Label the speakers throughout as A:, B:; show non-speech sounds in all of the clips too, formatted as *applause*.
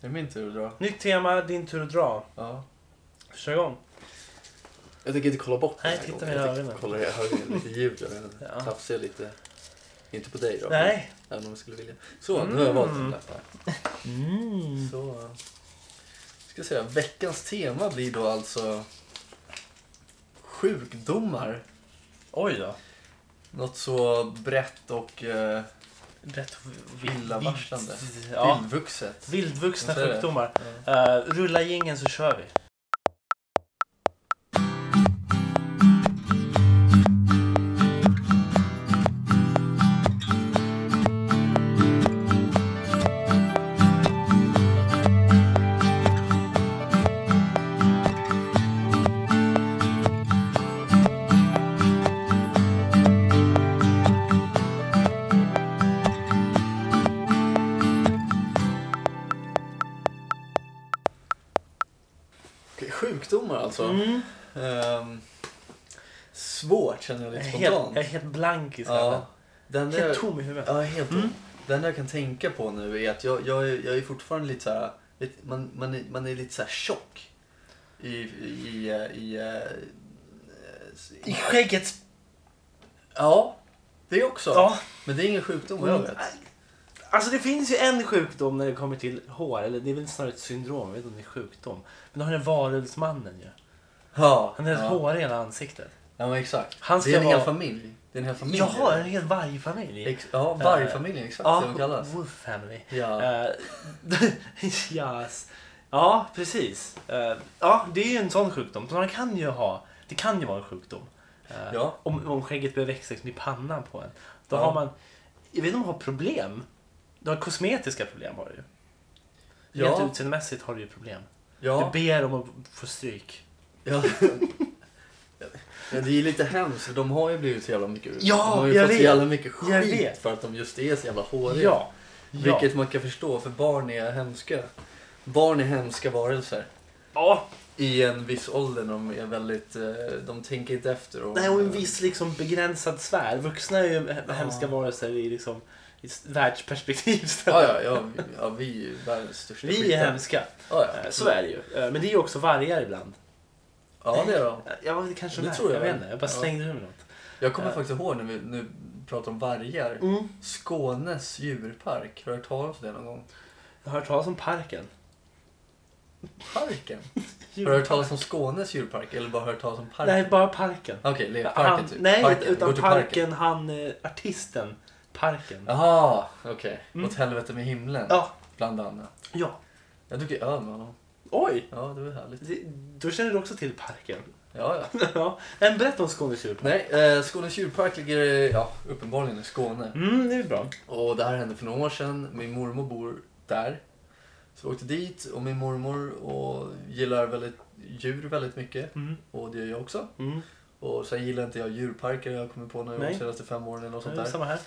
A: Det är min tur att dra.
B: Nytt tema, din tur att dra.
A: Ja.
B: Kör igång.
A: Jag tänker inte kolla bort den
B: Nej,
A: här
B: titta
A: gången.
B: med
A: Jag
B: ögonen.
A: tänker kolla i ögonen. Lite djupt i ögonen.
B: Ja.
A: Tafsiga lite. Inte på dig då.
B: Nej.
A: men Även om jag skulle vilja. Så, nu har jag valt en lapp här.
B: Mm.
A: Så. eh, Ska säga, veckans tema blir då alltså sjukdomar.
B: Oj då.
A: Något så brett och eh,
B: Rätt vi-
A: Illavarslande.
B: vild- Ja.
A: vildvuxet.
B: Vildvuxna
A: Så är det.
B: sjukdomar.
A: Ja.
B: Eh, rulla gängen så kör vi.
A: Okej, sjukdomar alltså.
B: Mm.
A: Ehm, svårt känner jag
B: Jag, är
A: lite
B: helt,
A: spontant.
B: jag är helt blank i skallen.
A: ja, den där,
B: Helt tom i huvudet.
A: ja, helt tom. Det enda jag kan tänka på nu är att jag, jag, är, jag är fortfarande lite så här, vet- man, man, är, man är lite så här tjock. I, i, eh, i, eh,
B: I
A: i
B: skägget.
A: Ja, det också.
B: Ja. Mm.
A: Men det är ingen sjukdom vad jag vet.
B: Alltså det finns ju en sjukdom när det kommer till hår. Eller det är väl snarare ett syndrom. Jag vet inte om det är sjukdom. Men då har den varulvsmannen ju.
A: Ja,
B: Han är
A: ja.
B: ett hår i hela ansiktet.
A: Ja, men exakt.
B: Han
A: det är
B: ska
A: en hel
B: vara-
A: familj. Det är en hel familj.
B: Jaha, en hel vargfamilj.
A: Ex- ja, vargfamiljen. Exakt det de kallas.
B: Wolf Family.
A: Ja.
B: Eh, *laughs* yes. Ja, precis. Eh, ja, det är ju en sån sjukdom. Så man kan ju ha, det kan ju vara en sjukdom. Eh,
A: Ja.
B: om, om skägget börjar växa liksom i pannan på en. Då
A: Ja.
B: har man, jag vet inte om man har problem. Du har kosmetiska problem har du ju.
A: Ja.
B: Rent utseendemässigt har du ju problem.
A: Ja.
B: Du ber om att få stryk.
A: Ja. Ja, det är lite hemskt för de har ju blivit så jävla mycket
B: Ja,
A: De har ju
B: jag
A: fått
B: vet.
A: så jävla mycket
B: Jag
A: skit
B: vet.
A: för att de just är så jävla håriga.
B: Ja. ja.
A: Vilket man kan förstå för barn är hemska. Barn är hemska varelser.
B: Ja,
A: I en viss ålder de är väldigt, eh, de tänker inte efter. Och,
B: Nej, och en viss liksom begränsad sfär. Vuxna är ju he- hemska
A: Ja.
B: varelser i, liksom, i s- världsperspektiv.
A: Ja, ja, ja, vi- ja, vi är ju världens största
B: Vi är
A: skitar.
B: hemska.
A: Ja, ja.
B: Eh, Så är det ju. Eh, Men det är ju också vargar ibland.
A: Ja, det är de.
B: Eh, Ja, det kanske
A: Det
B: de är.
A: tror jag
B: jag
A: väl.
B: vet inte. Jag bara
A: Ja.
B: slängde ur mig något.
A: Jag kommer
B: Eh.
A: faktiskt ihåg när vi nu pratar om vargar. Skånes djurpark. Har du hört talas om det någon gång?
B: Jag har hört talas om parken.
A: Parken? Har du hört talas om Skånes djurpark eller bara hört talas om parken?
B: Nej, bara parken.
A: Okej, okay,
B: Han,
A: lekparken typ.
B: nej,
A: parken. Gå
B: utan
A: till
B: parken, han eh, artisten. Parken.
A: Jaha, okej.
B: Mm.
A: Åt helvete med himlen.
B: Ja.
A: Bland annat.
B: ja.
A: Jag druckit öl med honom.
B: Oj!
A: Ja, det var härligt.
B: Det, då känner du också till parken. *laughs*
A: Ja, ja.
B: ja. Men berätta om Skånes djurpark.
A: Nej, eh, Skånes djurpark ligger eh, ja, uppenbarligen i Skåne.
B: Mm, det är bra.
A: Och det här hände för några år sedan. Min mormor bor där. Så vi åkte dit och min mormor och gillar väldigt djur väldigt mycket.
B: Mm.
A: Och det gör jag också.
B: Mm.
A: Och sen gillar inte jag djurparker jag har kommit på nu de
B: Nej.
A: senaste fem åren eller något sånt
B: Det är
A: där.
B: Samma här.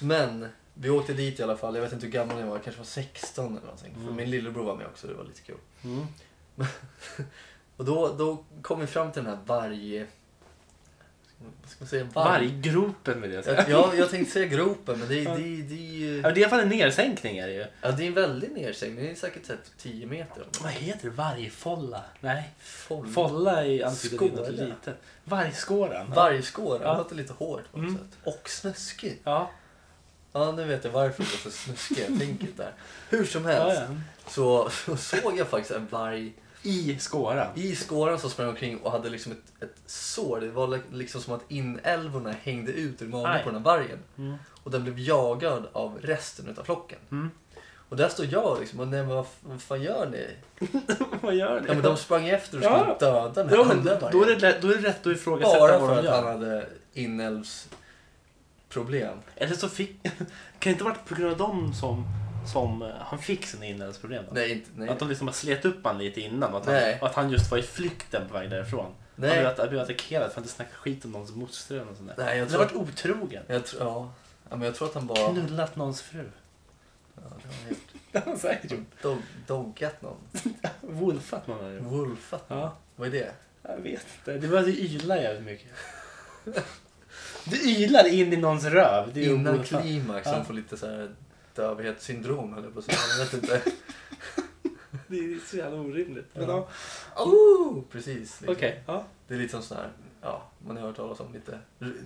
A: Men vi åkte dit i alla fall. Jag vet inte hur gammal jag var. Jag kanske var 16 eller någonting. För
B: Mm.
A: min lillebror var med också. Det var lite kul.
B: Mm.
A: Och då, då kom vi fram till den här varg... Vad ska man säga? Varg.
B: Varggropen vill jag
A: Jag,
B: säga.
A: jag, jag tänkte säga gropen men det, det, det, det är ju...
B: Ja, men det är i alla fall en nedsänkning är det ju.
A: Ja, det är en väldig nedsänkning. Det är säkert så här 10 meter.
B: Vad heter det? Vargfolla? Nej.
A: Foll.
B: Folla i ansiktet
A: Skåra.
B: är lite. Vargskåran.
A: Vargskåra.
B: Ja.
A: Det låter lite hårt på något
B: Mm.
A: sätt. Och snuskigt.
B: Ja.
A: Ja, nu vet jag varför det låter snuskiga tänket där. Hur som helst
B: ja, ja.
A: Så, så såg jag faktiskt en varg
B: I skåran.
A: i skåran som sprang omkring och hade liksom ett, ett sår. Det var li- liksom som att inälvorna hängde ut ur magen
B: Aj.
A: på den här vargen.
B: Mm.
A: Och den blev jagad av resten av flocken.
B: Mm.
A: Och där står jag liksom och nej men vad, f- vad fan gör ni?
B: *laughs* Vad gör
A: Ja men de sprang efter och skulle
B: Ja.
A: döda den här
B: Ja, men
A: andra
B: då, är det,
A: vargen.
B: lätt- då är det rätt att ifrågasätta
A: Bara
B: vad
A: för
B: de
A: att han
B: gör.
A: hade inälvsproblem.
B: Eller så fick... *laughs* kan det inte ha varit på grund av dem som, som eh, han fick sina inälvsproblem? då?
A: Nej, inte, nej.
B: Att de liksom bara slet upp han lite innan och att han,
A: Nej.
B: och att han just var i flykten på väg därifrån.
A: Nej.
B: Han blev, att- han blev attackerad för att han inte snackade skit om någons moster eller något sånt där.
A: Nej, jag
B: Han har
A: tror,
B: varit otrogen.
A: jag, tror- ja. Ja, men jag tror att han bara... Ja,
B: Knullat någons *laughs* fru.
A: det har han gjort.
B: Det har han säkert gjort.
A: Dog, doggat någon.
B: Wolfat någon har gjort.
A: Wolfat någon.
B: Ja,
A: Vad är det?
B: jag vet inte. Det började yla jävligt mycket. Du ylar in i någons röv. Det är ju
A: Innan
B: wolfat.
A: klimax,
B: Ja. *laughs*
A: han får lite så här dövhetssyndrom höll jag på att säga. Jag vet inte.
B: Det är så jävla orimligt. Men
A: Ja.
B: ja. Oh!
A: Precis.
B: Okej.
A: liksom.
B: Ja.
A: Det är lite som sån här, ja, man har hört talas om lite,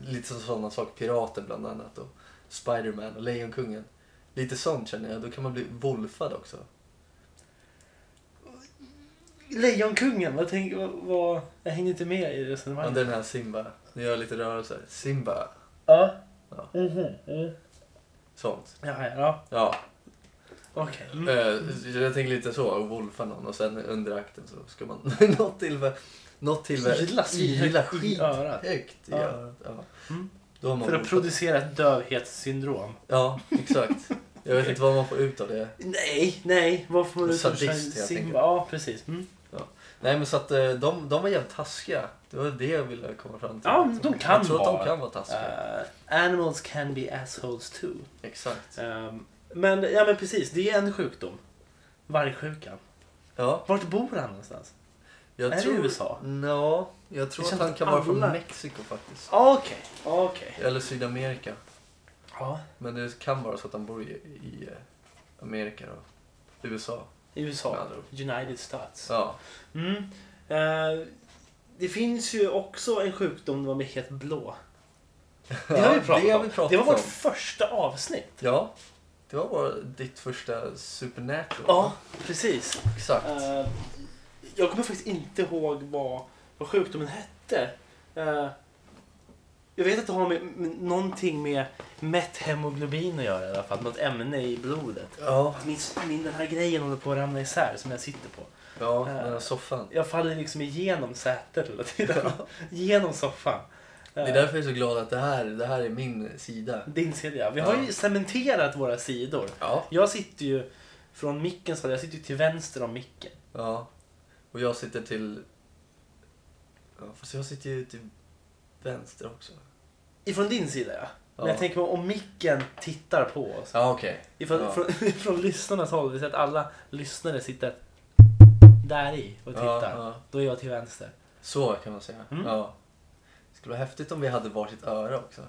A: lite som sådana saker, Piraten bland annat och Spiderman och Lejonkungen. Lite sånt känner jag, då kan man bli wolfad också.
B: Lejonkungen, vad tänker vad, vad... Jag hänger inte med i resonemanget.
A: Under den här Simba, nu gör jag lite rörelser. Simba,
B: Ja.
A: Ja.
B: Mhm. Mm.
A: sånt.
B: Ja, ja, ja.
A: Ja,
B: Okej. Mm.
A: eh, så jag tänker lite så, och wolfa någon och sen under akten så ska man *laughs* något tillfälle något tillfälle
B: Ila svinhögt
A: ila
B: i
A: skit-
B: örat.
A: högt i
B: Ja.
A: örat. Ja.
B: Mm.
A: Då har man
B: För att
A: wolfat.
B: producera ett dövhetssyndrom.
A: Ja, exakt. Jag vet inte vad man får ut av det.
B: Nej, nej. Vad får man ut av
A: Sadist,
B: sig?
A: helt
B: Simba?
A: enkelt.
B: Ja, precis. Mm.
A: Nej men så att eh, de, de var jävligt taskiga. Det var det jag ville komma fram till.
B: Ja, men de kan
A: jag tror att
B: vara.
A: de kan vara taskiga.
B: Eh, animals can be assholes too.
A: Exakt.
B: Ehm, men, ja men precis, det är en sjukdom. Vargsjukan.
A: Ja,
B: Vart bor han någonstans?
A: jag
B: är det
A: tror...
B: i USA?
A: Ja, jag tror
B: Det
A: att
B: känns
A: han kan vara från
B: alla-
A: Mexiko faktiskt.
B: Okej, okej.
A: Eller Sydamerika.
B: Ja,
A: Men det kan vara så att han bor i, i eh, Amerika då. USA. Med
B: USA.
A: andra ord.
B: United States.
A: Ja.
B: Mm. Eh, det finns ju också en sjukdom där man blir helt blå. Det har vi pratat,
A: *laughs* det har
B: om.
A: vi pratat
B: Det var vårt
A: om.
B: första avsnitt.
A: Ja. Det var bara ditt första Supernatural.
B: Ja, precis.
A: Exakt.
B: Eh, jag kommer faktiskt inte ihåg vad, vad sjukdomen hette. Eh, jag vet att det har med, med någonting med methemoglobin att göra i alla fall. Något ämne i blodet.
A: Ja.
B: Min, min, den här grejen håller på att ramla isär som jag sitter på.
A: Ja,
B: Eh.
A: den här soffan.
B: Jag faller liksom igenom sätet hela tiden. *laughs* Genom soffan. Eh,
A: Det är därför jag är så glad att det här, det här är min sida.
B: Din sida. Vi har ju
A: Ja.
B: cementerat våra sidor.
A: Ja.
B: Jag sitter ju från micken, så jag sitter ju till vänster om micken.
A: Ja. Och jag sitter till... Ja, fast jag sitter ju till vänster också.
B: Ifrån din sida ja. Men
A: Ja.
B: jag tänker om micken tittar på oss.
A: Ja, okej.
B: Ifrån,
A: Ja.
B: från, *laughs* ifrån lyssnarnas håll, vi ser att alla lyssnare sitter där i och
A: Ja,
B: tittar.
A: ja.
B: Då är jag till vänster.
A: Så kan man säga.
B: Mm.
A: Ja. Det skulle vara häftigt om vi hade varsitt öra också.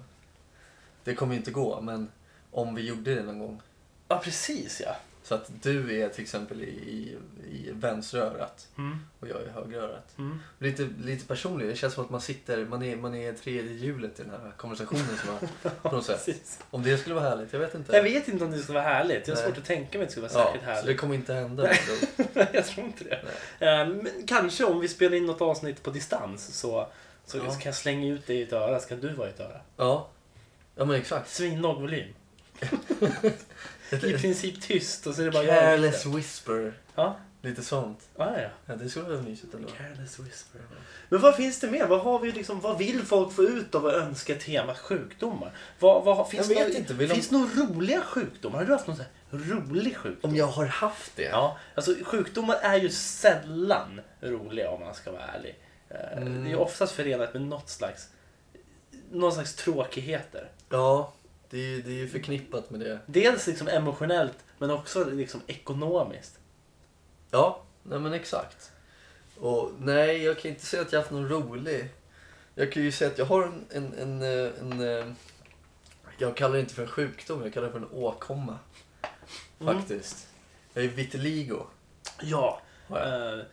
A: Det kommer ju inte gå, men om vi gjorde det någon gång.
B: Ja, precis ja.
A: Så att du är till exempel i, i, i vänstra örat
B: Mm.
A: och jag i högra örat.
B: Mm.
A: Lite, lite personligt, det känns som att man sitter, man är, man är tredje hjulet i den här konversationen som har, på något sätt.
B: Precis.
A: Om det skulle vara härligt, jag vet inte.
B: Jag vet inte om det skulle vara härligt. Jag har
A: Nej.
B: svårt att tänka mig att det skulle vara
A: ja,
B: särskilt
A: så det
B: härligt.
A: kommer inte hända. Då.
B: *laughs* jag tror inte det. Eh, Men kanske om vi spelar in något avsnitt på distans så, så,
A: Ja.
B: så kan jag slänga ut dig i ett öra så kan du vara i ett öra.
A: Ja. Ja men exakt.
B: Svinlåg volym.
A: *laughs*
B: I
A: Ett
B: princip tyst och så är det bara jag.
A: careless whisper.
B: Ja,
A: Lite sånt.
B: ah, ja.
A: Ja, det skulle vara mysigt ändå.
B: Careless whisper. Men vad finns det mer? Vad, har vi liksom, vad vill folk få ut av att önska tema sjukdomar? Vad, vad, finns
A: Jag vet
B: några-
A: inte, vill de-
B: finns det några roliga sjukdomar? Har du haft någon sån här rolig sjukdom?
A: Om jag har haft det?
B: Ja, alltså sjukdomar är ju sällan roliga om man ska vara ärlig. Eh,
A: Mm.
B: Det är ju oftast förenat med något slags, någon slags tråkigheter.
A: Ja, det är ju det är ju förknippat med det.
B: Dels liksom emotionellt men också liksom ekonomiskt.
A: Ja, nej men exakt. Och nej, jag kan inte säga att jag haft någon rolig. Jag kan ju säga att jag har en, en, en, eh, en, eh, jag kallar det inte för en sjukdom, jag kallar det för en åkomma.
B: Mm.
A: Faktiskt. Jag är vitiligo.
B: Ja.
A: har jag.
B: eh,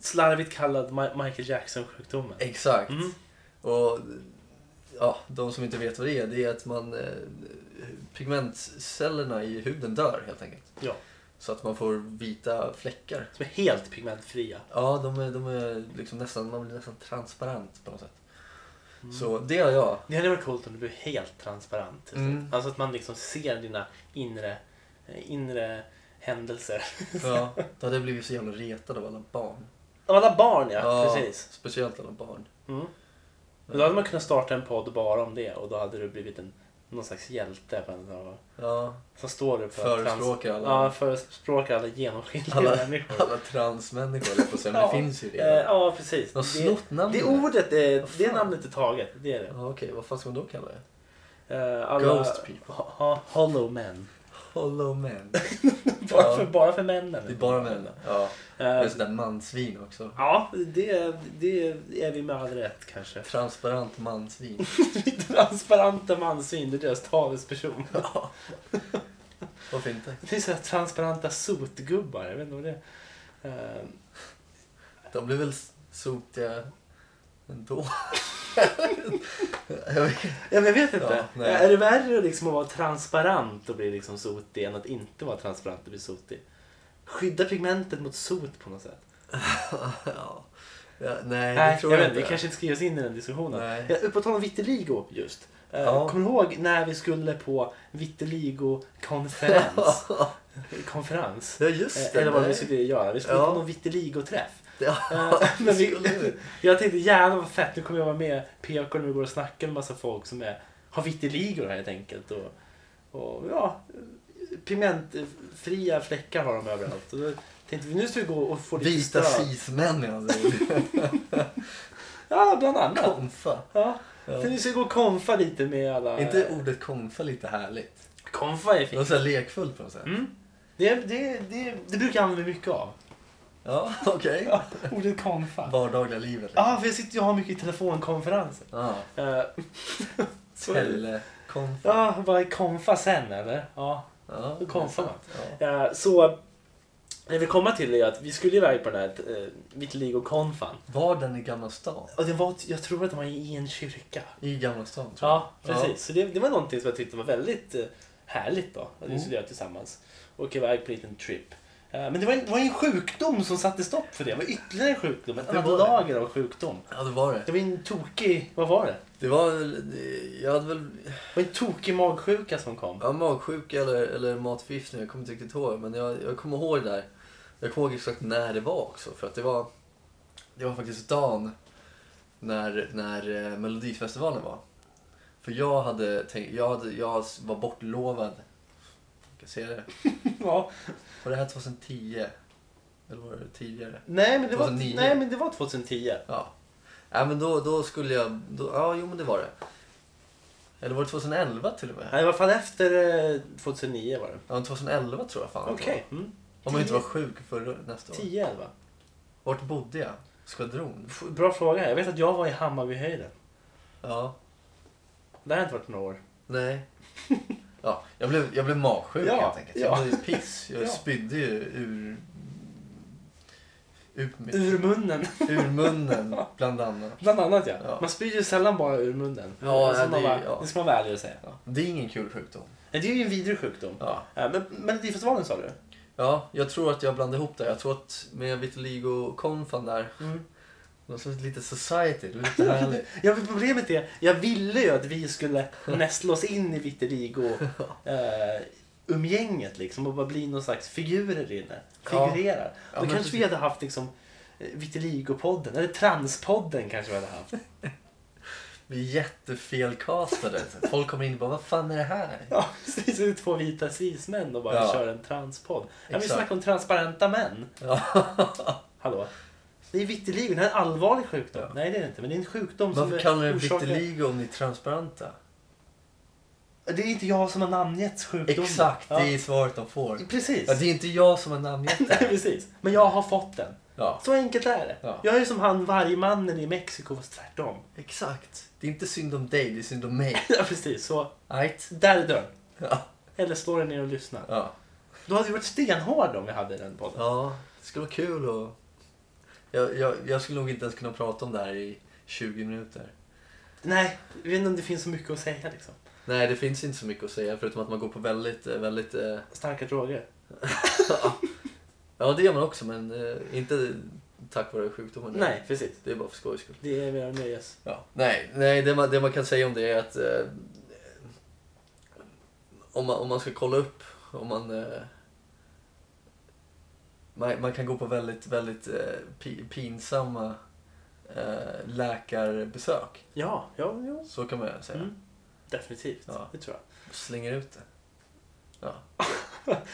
B: Slarvigt kallad Ma- Michael Jackson-sjukdomen.
A: Exakt.
B: Mm.
A: Och ja, de som inte vet vad det är, det är att man eh, pigmentcellerna i huden dör helt enkelt.
B: Ja.
A: Så att man får vita fläckar.
B: Som är helt pigmentfria.
A: Ja, de är, de är liksom nästan, man blir nästan transparent på något sätt.
B: Mm.
A: Så det har jag.
B: Det hade varit coolt om du blev helt transparent. till slut.
A: Mm.
B: Alltså att man liksom ser dina inre, eh, inre händelser.
A: Ja, då hade jag blivit så jävla retad av alla barn.
B: Alla barn ja, precis.
A: Speciellt alla barn.
B: Mm. Men Då hade man kunnat starta en podd bara om det och då hade du blivit en, någon slags hjälte. på en dag.
A: Ja,
B: Så står du för att
A: förespråkar
B: Trans,
A: alla,
B: ja, förespråkar alla genomskinliga
A: alla, *laughs*
B: människor.
A: alla transmänniskor, höll jag på att säga, men
B: Ja,
A: det finns ju
B: Eh,
A: redan.
B: ja, precis.
A: De har snott namnet.
B: det ordet, är,
A: Vad fan?
B: det namnet är taget. Det är det.
A: Ja, okej, vad fan ska man då kalla det?
B: Eh, alla,
A: Ghost people.
B: Ja, hollow men.
A: Hollow man.
B: Bara
A: Ja.
B: för, bara för männen.
A: Det är bara män. Ja.
B: Eh,
A: Men sådär mansvin också.
B: Ja, det, det är vi med all rätt
A: *laughs*
B: kanske.
A: Transparent mansvin.
B: Transparenta mansvin, det är deras talesperson.
A: Ja. Varför inte?
B: Det är så här transparenta sotgubbar. Jag vet inte vad det är. Eh,
A: De blir väl sotiga ändå. *laughs* jag vet.
B: Ja, men jag vet inte.
A: Ja, nej.
B: är det värre liksom att vara transparent och bli liksom sotig än att inte vara transparent och bli sotig? Skydda pigmentet mot sot på något sätt.
A: ja. Ja, nej,
B: Nej,
A: det
B: jag
A: tror
B: vet
A: jag,
B: inte. Vi
A: inte.
B: kanske inte ska ge oss in i den diskussionen.
A: Nej.
B: Ja, på tal om vitiligo just. Eh,
A: Ja.
B: Kommer du ihåg när vi skulle på
A: *laughs*
B: vitiligo-konferens? Konferens?
A: Ja,
B: Eh,
A: just det.
B: Eller vad vi
A: nej.
B: skulle göra. Vi skulle
A: Ja.
B: på någon vitiligo-träff. Eh,
A: Ja, *laughs*
B: Men vi,
A: skulle vi.
B: jag tänkte jävlar vad fett, nu kommer jag vara med PK när vi går och snackar med massa folk som är, har vitiligo helt enkelt. Och, och ja, pigmentfria fläckar har de överallt. Och då tänkte vi nu ska vi gå och få lite
A: Vita
B: stöd.
A: cis-män, alltså.
B: *laughs* Ja, bland annat.
A: Konfa.
B: Ja.
A: Ja.
B: Så vi ska gå och konfa lite med alla...
A: inte ordet konfa lite härligt?
B: Konfa
A: Det
B: är
A: var
B: fint.
A: så här lekfullt på något sätt.
B: Mm. Det, det, det, det brukar jag använda mycket av.
A: Ja, *laughs* okej.
B: Ja, ordet konfa. Ja,
A: Vardagliga livet. liksom.
B: ah, för jag sitter ju och har mycket telefonkonferenser.
A: Ja.
B: Eh, så är det.
A: Telekonfa.
B: Ja, bara konfa sen eller? Ja.
A: Ja,
B: Då konfar man.
A: Ja.
B: Eh, Så det vi kommer till är att vi skulle iväg på den här eh, vitiligo-konfan.
A: Var den i Gamla stan?
B: Och det var, jag tror att det var i en kyrka.
A: I Gamla stan, tror jag.
B: Ja, precis. Så det, det var någonting som jag tyckte var väldigt eh, härligt då. Att vi skulle göra tillsammans. Åka iväg på en liten trip. Eh, Men det var, en, det var en sjukdom som satte stopp för det. Det var ytterligare en sjukdom. Ett
A: Det
B: annat
A: var det.
B: lager av sjukdom.
A: Ja, det var det.
B: Det var en tokig, vad var det?
A: Det var väl- det- Jag hade väl...
B: Det var en tokig magsjuka som kom. *laughs*
A: Ja, magsjuka eller, eller matförgiftning, jag kommer inte riktigt ihåg. Men jag, jag kommer ihåg det där. Jag kommer ihåg exakt när det var också. För att det var... Det var faktiskt dagen när, när eh, Melodifestivalen var. För jag hade tänkt... Jag, hade, jag var bortlovad. Jag kan se det.
B: Ja.
A: Var det här 2010? Eller var det tidigare?
B: Nej, men det var,
A: 2009.
B: nej, men det var 2010.
A: Ja. ja men då, då skulle jag... Då, ja, jo men det var det. Eller var det 2011 till och med?
B: Nej, i alla fall efter eh, 2009 var det.
A: Ja, 2011 tror jag fan att det
B: Okej.
A: var.
B: Mm.
A: Om jag inte var sjuk förra nästa år.
B: 10 11.
A: Vart bodde jag? Skvadron?
B: F- Bra fråga. Jag vet att jag var i Hammarbyhöjden.
A: Ja.
B: Där har jag inte varit några år.
A: Nej. Ja, jag blev, jag blev magsjuk
B: Ja,
A: helt enkelt. Jag
B: ja.
A: mådde ju piss. Jag
B: Ja.
A: spydde ju ur... Ut mitt,
B: *laughs* Ur munnen.
A: ur munnen, bland annat.
B: Bland annat ja.
A: Ja,
B: Man spyr ju sällan bara ur munnen.
A: Ja,
B: Alltså,
A: ja,
B: man
A: det är
B: bara,
A: ju- ja.
B: det ska man vara ärlig och säga.
A: Ja. Det är ingen kul sjukdom.
B: Nej, Det är ju en vidrig sjukdom.
A: Ja.
B: Ja, Men Melodifestivalen sa du?
A: ja, jag tror att jag blandade ihop det. Jag tror att med vitiligo-konfan där
B: Mm.
A: Det var som ett litet society. Det var lite härligt.
B: Ja, men problemet är, jag ville ju att vi skulle nästla oss in
A: *laughs*
B: i vitiligo eh, umgänget liksom och bara bli någon slags figurer inne.
A: Ja.
B: Figurerar.
A: Ja,
B: Då
A: men
B: kanske vi
A: precis.
B: hade haft liksom eh, vitiligo-podden eller transpodden kanske vi hade
A: *laughs*
B: haft.
A: Vi är jättefelcastade. Folk kommer in och bara, vad fan är det här?
B: *laughs* Ja, precis. Det är två vita cis-män och bara
A: Ja.
B: kör en transpodd. Ja, vi
A: Exakt.
B: snackar om transparenta män. Hallå? Det är vitiligo, det här är en allvarlig sjukdom.
A: Ja.
B: Nej, det är det inte. Men det är en sjukdom som
A: Varför kallar ni det
B: orsakar-
A: vitiligo om ni är transparenta?
B: Det är inte jag som har namngett sjukdomen.
A: Exakt,
B: Ja.
A: det är svaret de får.
B: Precis.
A: Ja, det är inte jag som har namngett
B: *laughs* Nej,
A: det.
B: precis. Men jag har fått den.
A: Ja,
B: Så enkelt är det.
A: Ja.
B: Jag är som han vargmannen i Mexiko fast tvärtom. *laughs*
A: exakt. Det är inte synd om dig, det är synd om mig.
B: Ja, precis. Så
A: Right?
B: där är dörren.
A: Ja.
B: Eller slå dig ner och lyssna.
A: Ja.
B: Då hade vi varit stenhårda om vi hade den podden.
A: ja, det skulle vara kul och... Jag, jag, jag skulle nog inte ens kunna prata om det här i 20 minuter.
B: Nej, jag vet inte om det finns så mycket att säga liksom.
A: Nej, det finns inte så mycket att säga förutom att man går på väldigt, eh, väldigt... eh,
B: Starka droger.
A: Ja, det gör man också, men eh, inte tack vare sjukdomen.
B: Nej, precis.
A: Det är bara för skojs skull.
B: Det är mer nöjes.
A: Ja. Nej, nej det, man, det man kan säga om det är att eh, om, man, om man ska kolla upp, om man, eh, man, man kan gå på väldigt, väldigt eh, pi, pinsamma eh, läkarbesök.
B: Ja, ja, ja.
A: Så kan man säga.
B: Mm. Definitivt.
A: Ja.
B: Det tror jag.
A: Slänger ut det. Ja.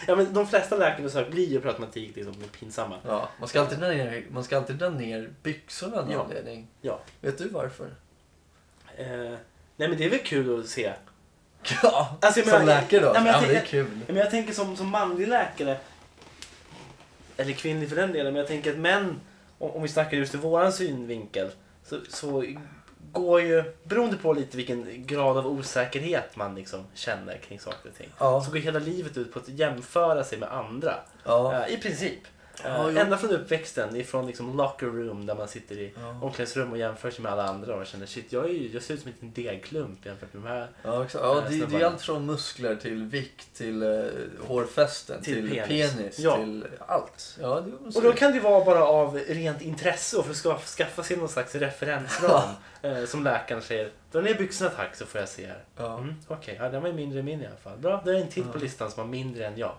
B: Ja, men de flesta läkarbesök blir ju per automatik liksom pinsamma.
A: Ja. Man, ska alltid dra ner, man ska alltid dra ner byxorna av någon
B: Ja.
A: anledning.
B: Ja.
A: Vet du varför?
B: Eh, nej, men det är väl kul att se.
A: Ja,
B: Alltså, jag
A: som
B: menar-
A: läkare då?
B: Ja, men jag
A: ja, det är
B: tänker-
A: kul.
B: Ja, Men jag tänker som, som manlig läkare, eller kvinnlig för den delen, men jag tänker att män, om, om vi snackar just i våran synvinkel, så, så går ju, beroende på lite vilken grad av osäkerhet man liksom känner kring saker och ting,
A: Ja.
B: så går hela livet ut på att jämföra sig med andra.
A: Ja.
B: Eh, I princip. Eh,
A: Ja, jo.
B: ända från uppväxten, ifrån liksom locker room där man sitter i
A: Ja.
B: omklädningsrum och jämför sig med alla andra och känner shit, jag, är ju, jag ser ut som en liten degklump jämfört med de här.
A: Ja, exakt. ja det, det är
B: Snubbarna.
A: allt från muskler till vikt till eh, hårfästen till,
B: Till penis.
A: penis,
B: Ja.
A: till allt. Ja, det är
B: Och då kan det ju vara bara av rent intresse och för att ska, skaffa sig någon slags referensram. eh, som läkaren säger, dra ner byxorna tack så får jag se här.
A: ja.
B: Mm, Okej, ja, den var ju mindre än min i alla fall. Bra, då är det en till på
A: Ja.
B: listan som var mindre än jag.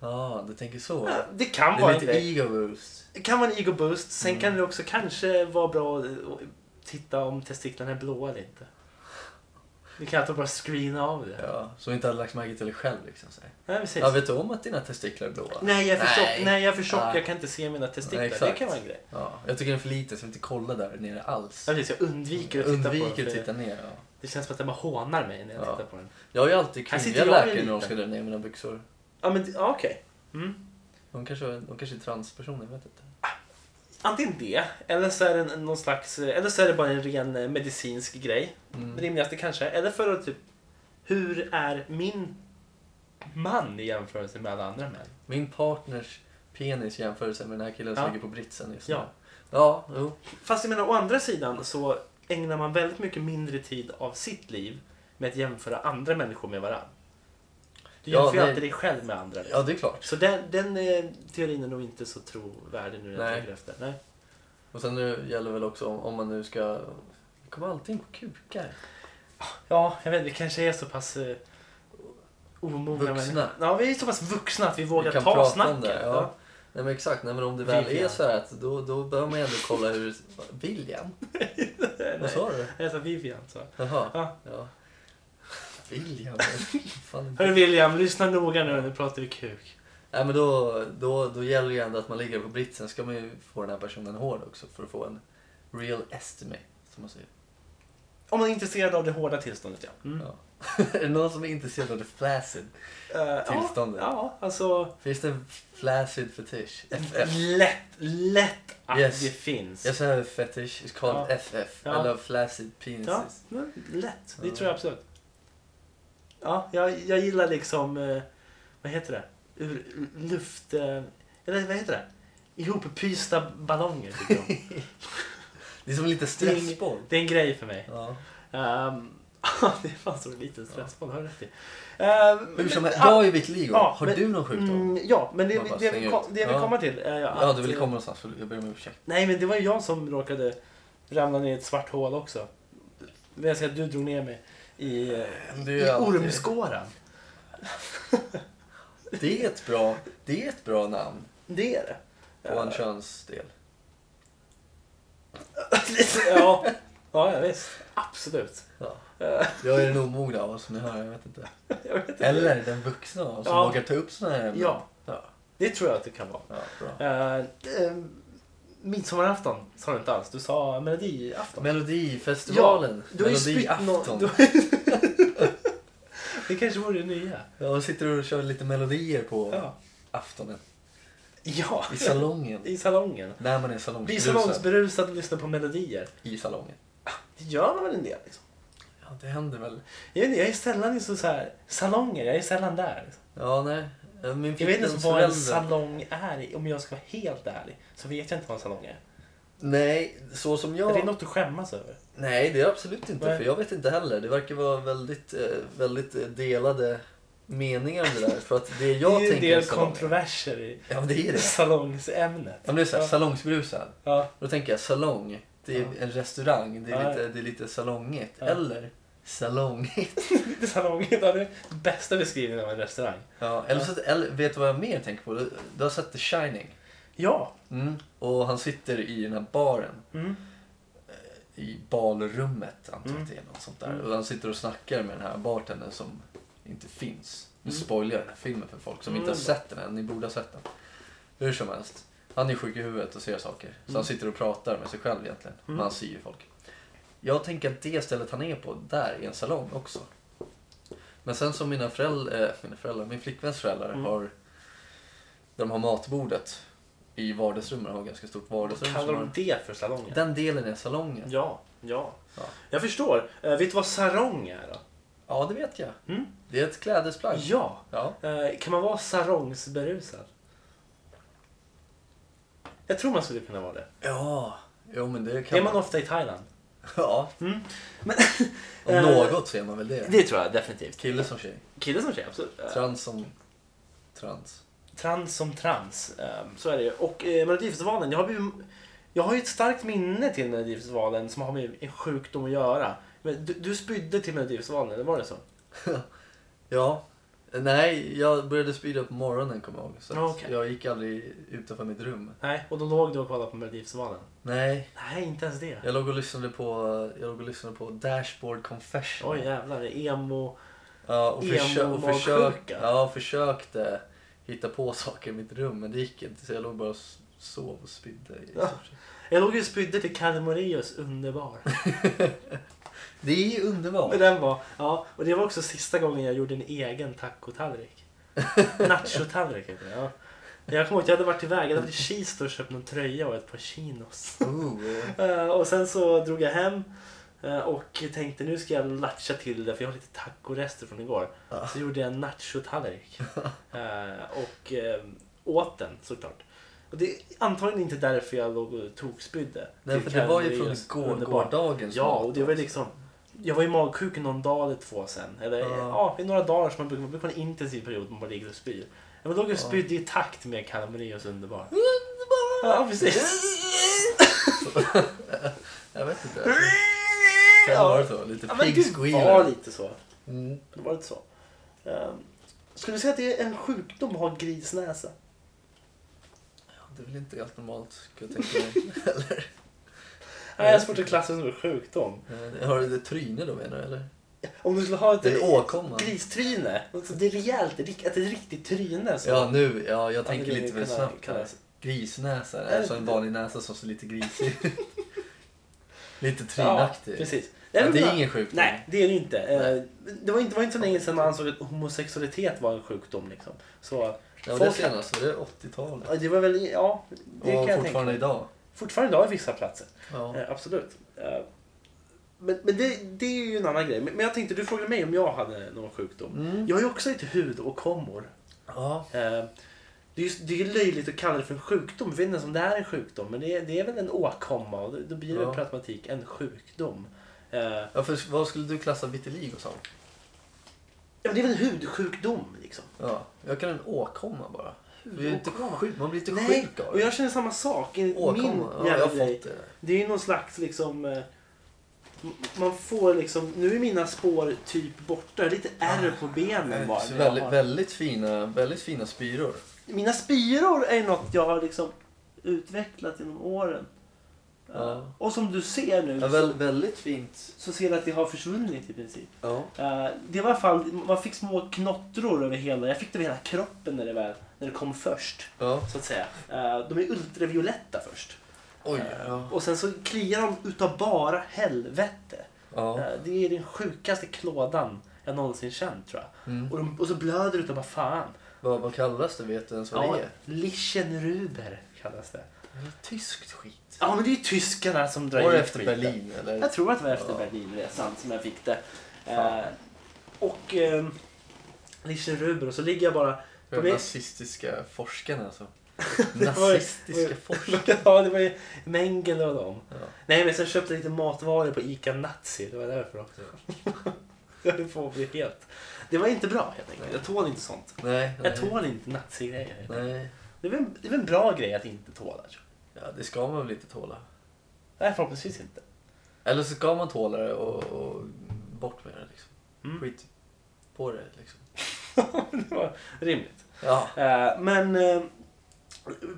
A: ja, du tänker så.
B: Ja, Det
A: Det
B: kan vara
A: är
B: en
A: lite
B: grej. Mm.
A: ego boost.
B: Det kan vara en ego boost. Sen kan det också kanske vara bra att eh, titta om testiklarna är blåa eller inte. Du kan alltid bara screena av det.
A: Ja, som inte hade lagt märke till dig själv. Liksom, så. här.
B: Nej, precis.
A: Ja, vet du om att dina testiklar är blåa?
B: Nej, jag är för
A: Nej.
B: tjock. Nej, jag är för tjock.
A: Nej.
B: Jag kan inte se mina testiklar.
A: Nej,
B: det
A: exakt.
B: kan vara en grej.
A: Ja, jag tycker den är för liten så jag vill inte kolla där nere alls.
B: Ja, precis. Jag undviker att titta på
A: Undviker
B: den.
A: att
B: för
A: titta ner. Ja.
B: Det känns som att den bara hånar mig när jag
A: Ja.
B: tittar på den.
A: Jag har ju alltid
B: Här sitter
A: kvinnliga
B: jag
A: läkare
B: lite.
A: när de ska dra ner mina byxor.
B: Ja, men det- ja, okej. Mm.
A: De kanske, de kanske är transpersoner, jag vet inte.
B: Antingen det, eller så är det en- någon slags... Eller så är det bara en ren eh, medicinsk grej.
A: Mm.
B: Rimligaste kanske. Eller för att typ... Hur är min man i jämförelse med alla andra män?
A: Min partners penis i jämförelse med den här killen som
B: Ja.
A: ligger på britsen just nu.
B: Ja.
A: Ja, jo.
B: Fast jag menar, å andra sidan så ägnar man väldigt mycket mindre tid av sitt liv med att jämföra andra människor med varandra. Du
A: Ja,
B: jämför ju
A: nej.
B: alltid dig själv med andra. liksom.
A: ja, det är klart.
B: Så den, den eh, teorin är nog inte så trovärdig nu när jag
A: Nej.
B: tänker efter. Nej.
A: Och sen nu gäller väl också om, om man nu ska... Det kommer alltid in på kukar.
B: Ja, jag vet, vi kanske är så pass eh, omogna.
A: Vuxna.
B: Men, ja, vi är så pass vuxna att vi vågar
A: kan
B: ta
A: prata om
B: snacket.
A: det, ja.
B: ja.
A: Nej men exakt, nej men om det väl
B: Viljan.
A: är så här att då, då behöver man ju ändå kolla hur...
B: *laughs*
A: Viljan? Vad sa du?
B: Jag sa Vivian. Så.
A: Jaha.
B: Ja. *laughs*
A: Ja. Viljan? vad Fan.
B: Hörru William, lyssna noga nu. Nu pratar vi kuk.
A: Nej men då, då, då gäller det ju ändå att man ligger på britsen. Ska man ju få den här personen hård också för att få en real estimate. Som man säger.
B: Om man är intresserad av det hårda tillståndet, ja. Mm.
A: Ja. *laughs* är det någon som är intresserad av det flaccid?
B: Eh,
A: Tillståndet.
B: Ja, ja alltså.
A: Finns det en flaccid fetish?
B: Mm.
A: FF?
B: Lätt, lätt att
A: Yes.
B: det finns.
A: Yes I have a fetish, it's called
B: Ja.
A: FF.
B: Ja.
A: I love flaccid penises.
B: Ja, men lätt. Det
A: Ja.
B: tror jag absolut. Ja, jag, jag gillar liksom, eh, vad heter det? Ur, ur luft... eh, Eller vad heter det? Ihoppysta ballonger tycker jag. om.
A: Det är som lite stressboll.
B: Det är en grej för mig.
A: Ja.
B: Ehm, *laughs* det är fan som en liten stressboll, har du rätt i. Ehm,
A: Hur som
B: men-
A: helst,
B: ah,
A: jag är vitt ligo.
B: ja,
A: Har
B: men-
A: du någon sjukdom?
B: Mm, ja, men det,
A: Man bara
B: det, vi,
A: slänger
B: kom,
A: ut.
B: det vi
A: Ja.
B: kommer till är ju att...
A: ja, du ville komma någonstans. för Jag ber om ursäkt.
B: Nej, men det var ju jag som råkade ramla ner i ett svart hål också. Vill jag säga att du drog ner mig i, eh,
A: Det
B: i
A: är alltid-
B: ormskåran.
A: Det är ett bra, det är ett bra namn
B: Det är det.
A: på en könsdel.
B: *laughs* ja. ja, ja, visst. Absolut.
A: Ja.
B: Eh,
A: Jag är den omogna av oss som ni hör, jag vet inte.
B: *laughs* jag vet inte.
A: Eller den vuxna av oss som
B: Ja.
A: vågar ta upp sådana här ämnen.
B: Ja,
A: Ja,
B: det tror jag att det kan vara.
A: ja, bra.
B: Uh, uh, midsommarafton sa du inte alls. Du sa melodiafton.
A: Melodifestivalen.
B: du har ju spytt
A: Melodiafton.
B: nå- du- det kanske vore det nya.
A: Jag sitter och kör lite melodier på
B: Ja.
A: aftonen.
B: ja.
A: I salongen.
B: I salongen.
A: När man är
B: Blir
A: salongsberusad.
B: salongsberusad och lyssnar på melodier.
A: I salongen.
B: Det gör man väl en del liksom.
A: Ja, det händer väl.
B: Jag, vet inte, jag är sällan i så så här, salonger. Jag är sällan där. Liksom.
A: Ja, nej. Min
B: Jag vet inte ens
A: flickväns
B: vad en
A: föräldrar-
B: salong är. Om jag ska vara helt ärlig så vet jag inte vad en salong är.
A: Nej, så som
B: Är
A: jag...
B: det något att skämmas över?
A: Nej, det är absolut inte.
B: Nej.
A: För jag vet inte heller. Det verkar vara väldigt, eh, väldigt eh, delade meningar om det där. För att det jag
B: det är ju en
A: tänker
B: del
A: är salong.
B: kontroverser i
A: Ja, men det är det.
B: salongsämnet.
A: Ja, men det är så här,
B: Ja.
A: salongsbrusad.
B: Ja.
A: Då tänker jag salong. Det är
B: Ja.
A: en restaurang. Det är,
B: Ja.
A: lite, det är lite salongigt.
B: Ja.
A: Eller salongigt. *laughs*
B: Lite salong. Det är den bästa beskrivningen av en restaurang.
A: Ja, eller, så, eller vet du vad jag mer tänker på? Du, du har sett The Shining.
B: Ja.
A: Mm. Och han sitter i den här baren.
B: Mm.
A: i balrummet antar jag
B: Mm.
A: att det är något sånt där.
B: Mm.
A: Och han sitter och snackar med den här bartendern som inte finns. Nu
B: Mm.
A: spoilar jag den här filmen för folk som
B: Mm,
A: inte har
B: det är
A: sett den än. Ni borde ha sett den. Hur som helst. Han är sjuk i huvudet och ser saker. Så
B: Mm.
A: han sitter och pratar med sig själv egentligen.
B: Mm.
A: Men han ser ju folk. Jag tänker att det stället han är på, där är en salong också. Men sen som mina föräldrar, äh, mina föräldrar min flickväns föräldrar
B: Mm.
A: har, där de har matbordet. i vardagsrummet. De har ett ganska stort
B: Vad
A: vardagsrum.
B: kallar
A: Som
B: de
A: har...
B: det för salongen?
A: Den delen är salongen.
B: Ja, ja.
A: Ja.
B: Jag förstår. Eh, vet du vad sarong är då?
A: Ja, det vet jag.
B: Mm.
A: Det är ett klädesplagg.
B: Ja.
A: Ja.
B: Eh, Kan man vara sarrongsberusad? Jag tror man skulle kunna vara det.
A: Ja. Jo, men det
B: Det
A: kan
B: är man ofta i Thailand.
A: Ja.
B: Men,
A: Mm. Om
B: Eh,
A: något så är man väl det.
B: det tror jag definitivt.
A: Kille som tjej.
B: Kille som tjej, absolut. Eh,
A: Trans som trans.
B: Trans som trans. eh, Så är det ju. Och eh, Melodifestivalen, jag har, blivit, jag har ju ett starkt minne till Melodifestivalen som har med en sjukdom att göra. Men du, du spydde till Melodifestivalen, eller var det så?
A: Ja. Nej, jag började spyda på morgonen kommer jag ihåg. Så att
B: Ah, Okej.
A: jag gick aldrig utanför mitt rum.
B: Nej, och då låg du och kollade på Melodifestivalen.
A: Nej,
B: Nej, inte ens det.
A: jag låg och lyssnade på, jag låg och lyssnade på Dashboard Confession.
B: Oj jävlar, emo.
A: Ja, och, försö- och försök-
B: Emo-magsjuka.
A: ja, och försökte hitta på saker i mitt rum men det gick inte så jag låg bara och s- sov och spydde. i
B: Ja.
A: stort sett.
B: Jag låg ju och spydde till Kalle Moraeus Underbar.
A: Det är ju underbart.
B: Men den var, ja, och det var också sista gången jag gjorde en
A: *laughs*
B: egen tacotallrik. Nachotallrik heter det. Ja. Jag kommer ihåg att jag hade varit iväg, jag hade varit i Kista och köpt någon tröja och ett par chinos. *laughs*
A: Ooh, eh.
B: Eh, och sen så drog jag hem eh, och tänkte nu ska jag latcha till det för jag har lite tacorester från igår.
A: Ja.
B: Så gjorde jag en nachotallrik.
A: *laughs*
B: Eh, och eh, åt den såklart. Och det är antagligen inte därför jag låg och tokspydde. Typ
A: Nej,
B: till
A: för det var ju från
B: Calories
A: igår,
B: underbart.
A: gårdagens
B: Ja,
A: mat,
B: och det var ju
A: alltså.
B: liksom... Jag var ju magsjuk i någon dag eller två sen. Eller
A: Ja.
B: ja, ja i några dagar som man brukar, man brukar ha en intensiv period man bara ligger och spyr. Jag låg och spydde i takt med Kalmarios underbar. Ja,
A: *laughs*
B: precis.
A: Jag vet
B: *laughs*
A: inte. Kan det vara så? Lite
B: Ja, men
A: pig
B: det var
A: squeal.
B: lite så.
A: Mm.
B: Det var lite så. Ehm, skulle du säga att det är en sjukdom att ha grisnäsa?
A: Ja, Det är väl inte helt normalt, ska jag tänka mig. *laughs*
B: Nej, jag har svårt att klassa det som en sjukdom.
A: Eh, Har du det tryne då menar du eller?
B: Om du skulle ha ett
A: Det är en åkomma.
B: gristryne, alltså det är rejält, rik- att det är ett riktigt tryne. Så.
A: Ja, nu. Ja, jag tänker
B: det
A: lite för
B: kan-
A: snabbt.
B: kan-
A: här. Grisnäsa,
B: det-
A: alltså en vanlig näsa som ser lite grisig
B: *laughs*
A: Lite
B: Ja,
A: trynaktig.
B: precis.
A: Ja,
B: men
A: det är
B: bra.
A: ingen sjukdom.
B: Nej, det är det inte. Eh,
A: Nej.
B: Det var inte, var inte så länge sedan man ansåg att homosexualitet var en sjukdom. Liksom. Så,
A: Det var det
B: folk-
A: senaste, det är 80-talet.
B: ja, det var väl, ja, det
A: Och
B: kan jag
A: fortfarande
B: tänka.
A: idag.
B: Fortfarande idag i vissa platser.
A: Ja.
B: Eh, Absolut. Eh, Men, men det, det är ju en annan grej. Men men jag tänkte, du frågade mig om jag hade någon sjukdom.
A: Mm.
B: Jag har ju också lite hudåkommor.
A: Ja.
B: Eh, Det är, ju- det är ju löjligt att kalla det för en sjukdom. Jag vet inte ens om det är en sjukdom. Men det är, det är väl en åkomma och då- då blir det
A: Ja.
B: per automatik en sjukdom. Eh,
A: ja, för vad skulle du klassa vitiligo som?
B: Ja, men det är väl en hudsjukdom liksom.
A: Ja, jag kan en åkomma bara. Du är inte
B: Åkomma?
A: sjuk, man blir inte
B: Nej,
A: sjuk av
B: och
A: det.
B: jag känner samma sak. I min
A: Åkomma, ja, jag
B: jävla
A: har
B: grej.
A: fått eh, det. där.
B: Det är ju någon slags liksom... eh, m- Man får liksom... Nu är mina spår typ borta. Lite ärr på benen bara.
A: Ah, Så
B: när jag
A: väldigt,
B: har-
A: väldigt, fina, väldigt fina spyror.
B: Mina spiror är ju något jag har liksom utvecklat genom åren. Eh,
A: Ja.
B: Och som du ser nu
A: Ja, väl, väldigt fint.
B: så, så ser du att det har försvunnit i princip.
A: Ja.
B: Eh, det var i alla fall, man fick små knottror över hela, jag fick det över hela kroppen när det, väl, när det kom först.
A: ja.
B: Så att säga. Eh, de är ultravioletta först.
A: Oj.
B: Eh,
A: Ja.
B: Och sen så kliar de utav bara helvete.
A: ja.
B: Eh, Det är den sjukaste klådan jag någonsin känt tror jag.
A: Mm.
B: Och, de, och så blöder det utav bara fan.
A: Vad, vad kallas det? Vet du ens vad
B: Ja,
A: det är?
B: Lichtenruber kallas det.
A: Det är Tyskt skit.
B: Ja men det är ju tyskarna som drar
A: Var det
B: hit
A: efter
B: skiten.
A: Berlin eller?
B: Jag tror att det var efter
A: Ja.
B: Berlinresan som jag fick det.
A: Fan.
B: Eh, och eh, Lichtenruber och så ligger jag bara...
A: De
B: de är-
A: nazistiska forskarna
B: *laughs*
A: alltså.
B: var-
A: Nazistiska forskare.
B: ja det var ju Mengele och dem.
A: Ja.
B: Nej men sen köpte jag lite matvaror på ICA Nazi. Det var därför också. *laughs* jag höll på att bli helt... Det var inte bra helt enkelt. Jag tål inte sånt.
A: Nej, nej.
B: Jag tål inte nazigrejer.
A: Nej.
B: Det är, väl, det är väl en bra grej att inte tåla. tror jag.
A: Ja, det ska man väl inte tåla.
B: Nej förhoppningsvis inte.
A: Eller så ska man tåla det och, och bort med det liksom.
B: Mm.
A: Skit på det liksom.
B: *laughs* det var rimligt.
A: Ja.
B: Eh, men eh,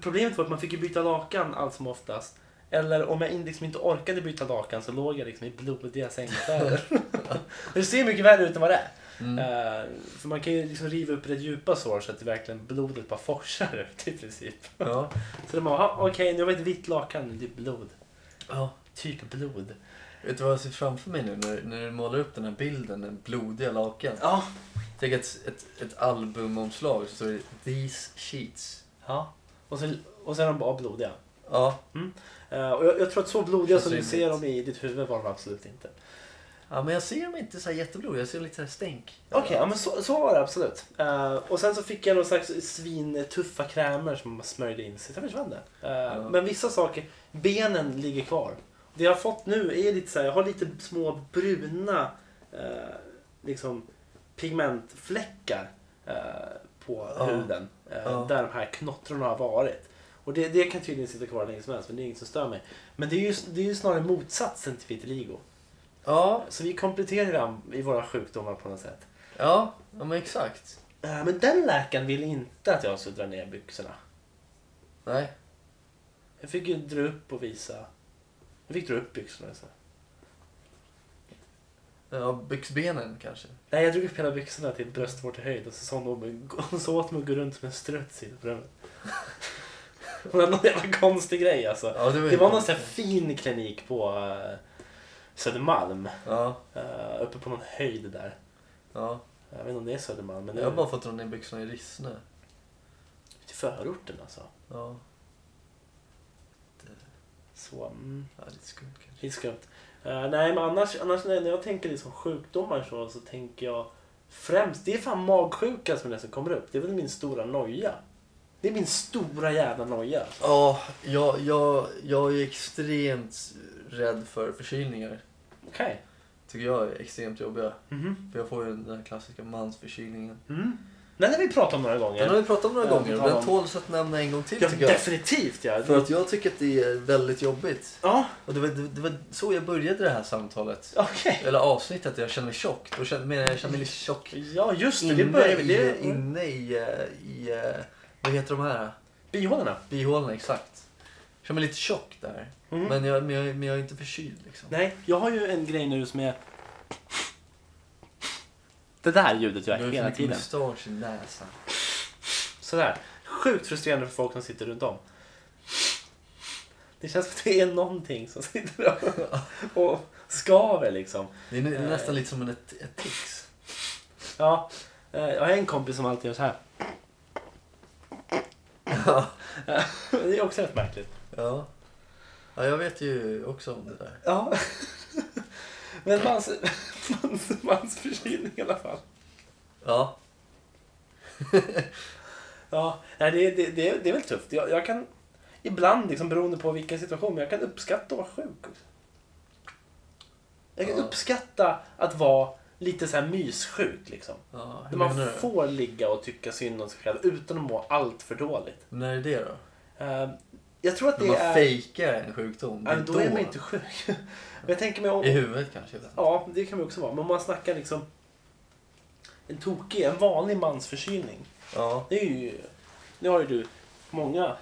B: problemet var att man fick ju byta lakan allt som oftast. Eller om jag in- liksom inte orkade byta lakan så låg jag liksom i blodiga sängkläder.
A: *laughs*
B: *laughs* det ser mycket värre ut än vad det är.
A: Mm.
B: Eh, för man kan ju liksom riva upp det djupa sår så att det verkligen blodet bara forsar ut i princip.
A: Ja.
B: Så de bara, "Jaha, okej nu har vi ett vitt lakan, det är blod.
A: ja.
B: Typ blod.
A: Vet du vad jag ser framför mig nu när, när du målar upp den här bilden, den blodiga lakan?
B: Ja.
A: Tänk ett, ett, ett albumomslag så står det “These sheets”.
B: ja. Och Och sen, och sen är de bara blodiga.
A: Ja.
B: Eh, och jag, jag tror att så blodiga
A: Känns
B: som du
A: rimligt.
B: ser dem i ditt huvud var de absolut inte.
A: ja, men jag ser dem inte så här jätteblodiga. Jag ser lite så här stänk.
B: Okej, ja, men så, så var det absolut. Eh, och sen så fick jag någon slags svintuffa krämer som man smörjde in sig. Sen försvann det. Eh,
A: Ja.
B: Men vissa saker, benen ligger kvar. Det jag har fått nu är lite så här, jag har lite små bruna eh, liksom pigmentfläckar eh, på
A: Ja.
B: huden. Eh,
A: Ja.
B: Där de här knottrorna har varit. Och det, det kan tydligen sitta kvar länge som helst, men det är inget som stör mig. Men det är ju, det är ju snarare motsatsen till vitiligo.
A: Ja,
B: Så vi kompletterar varandra i våra sjukdomar på något sätt.
A: ja, ja men exakt.
B: Eh, Men den läkaren ville inte att jag skulle dra ner byxorna.
A: Nej.
B: Jag fick ju dra upp och visa. Jag fick dra upp byxorna. Så.
A: Ja, byxbenen kanske.
B: Nej, jag drog upp hela byxorna till bröstvårtehöjd och så sa hon åt mig, hon sa åt mig att gå runt som en struts i rummet. *laughs* Hon hade någon jävla konstig grej alltså.
A: Ja,
B: Det var någon sån här fin klinik på eh, Södermalm.
A: Ja,
B: eh, uppe på någon höjd där.
A: ja.
B: Jag vet inte om det är Södermalm, men det
A: Jag har
B: är
A: bara fått dra ner byxorna i Rissne.
B: till förorten alltså.
A: Ja,
B: Så, mm.
A: ja lite skumt kanske.
B: Det är skumt. Eh, nej, men annars, annars när när jag tänker liksom sjukdomar så, så tänker jag främst, det är fan magsjuka som nästan kommer upp. Det är väl min stora noja. Det är min stora jävla noja.
A: Ja, jag, jag, jag är extremt rädd för förkylningar.
B: Okej.
A: Tycker jag är extremt jobbiga.
B: Mhm.
A: För jag får ju den där klassiska mansförkylningen.
B: Mm. Den har vi pratat om några gånger.
A: Den har vi pratat om några
B: Ja,
A: gånger
B: vi
A: och
B: tar
A: den
B: dem.
A: tåls att nämna en gång till
B: ja,
A: tycker jag.
B: definitivt ja.
A: För att jag tycker att det är väldigt jobbigt.
B: Ja,
A: Och det var, det, det var så jag började det här samtalet.
B: okej.
A: Eller avsnittet, jag känner mig tjock. Då känner, menar jag, jag känner mig lite tjock.
B: Ja, just det. Det
A: Inne
B: börjar
A: i,
B: det, in...
A: inne i, eh, i eh, vad heter de här?
B: Bihålorna.
A: Bihålorna, exakt. Jag känner mig lite tjock där.
B: Mm.
A: Men, jag, men, jag, men jag är inte förkyld liksom.
B: Nej, jag har ju en grej nu som är... Det där ljudet gör
A: Du har
B: jag
A: ju för
B: hela
A: mycket
B: tiden.
A: mustasch i näsan.
B: Sådär. Sjukt frustrerande för folk som sitter runt om. Det känns som att det är någonting som sitter där och, och skaver liksom.
A: Det är nä-
B: Eh.
A: nästan lite som en, ett, ett *laughs* tics.
B: Ja, eh, jag har en kompis som alltid gör så här.
A: Ja.
B: Det är också rätt märkligt.
A: ja. Ja, jag vet ju också om det där.
B: Ja. Men mans, mans, mans förkylning i alla fall.
A: Ja.
B: Ja, nej, det, det, det, är- det är väl tufft. Jag, jag kan ibland, liksom, beroende på vilken situation, men jag kan uppskatta att vara sjuk. också. Jag kan
A: Ja.
B: uppskatta att vara lite så här myssjuk liksom.
A: ja.
B: Där
A: Hur
B: man
A: menar du?
B: får ligga och tycka synd om sig själv utan att må allt för dåligt.
A: När är det då?
B: Eh, jag tror att
A: När
B: det
A: man
B: är...
A: fejkar en sjukdom? Det
B: Ja,
A: är
B: men då är man inte sjuk. *laughs* Men jag tänker mig
A: I
B: om...
A: huvudet kanske? jag vet inte.
B: Ja, det kan man också vara. Men om man snackar liksom en tokig, en vanlig mans förkylning.
A: Ja.
B: Det är ju... Nu har ju du många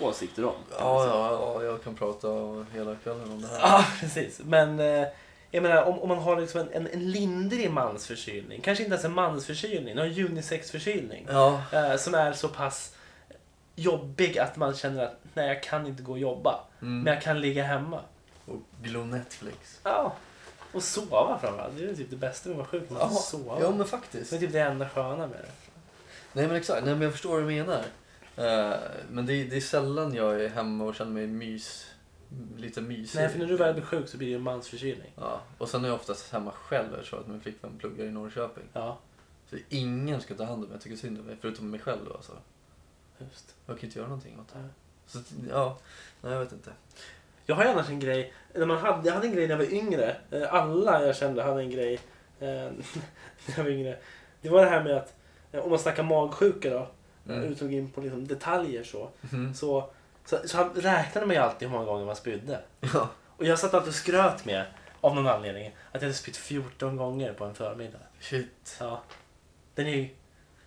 B: åsikter om.
A: Ja, ja, ja, jag kan prata hela kvällen om det här.
B: *laughs* Ja, precis. Men eh, jag menar om, om man har liksom en, en, en lindrig mansförkylning, kanske inte ens en mansförkylning, en unisexförkylning
A: Ja,
B: eh, som är så pass jobbig att man känner att nej, jag kan inte gå och jobba, men
A: mm.
B: jag kan ligga hemma.
A: och glo Netflix.
B: Ja. Och sova framförallt. Det är typ det bästa med att vara sjuk. Man får sova.
A: ja, men
B: Det är
A: faktiskt.
B: typ det enda sköna med det.
A: Nej, men exakt. Nej, men jag förstår vad du menar. Eh, Men det är, det är sällan jag är hemma och känner mig mys, lite mysig.
B: Nej, för när du väl blir sjuk så blir det en mansförkylning.
A: Ja, och sen är jag oftast hemma själv eftersom att min flickvän pluggar i Norrköping.
B: Ja,
A: Så ingen ska ta hand om mig, jag tycker synd om mig, förutom mig själv då alltså.
B: just.
A: Jag kan inte göra någonting åt det.
B: Nej.
A: Så ja, nej jag vet inte.
B: Jag har ju annars en grej, när man hade, jag hade en grej när jag var yngre. Eh, Alla jag kände hade en grej eh, *laughs* när jag var yngre. Det var det här med att, eh, om man snackar magsjuka då, mm.
A: Mm.
B: uttog in på liksom detaljer så.
A: Mhm.
B: Så, så, så han räknade man ju alltid hur många gånger man spydde.
A: *laughs* Ja,
B: Och jag satt alltid och skröt med, av någon anledning, att jag hade spytt 14 gånger på en förmiddag.
A: shit.
B: Ja. Den är ju...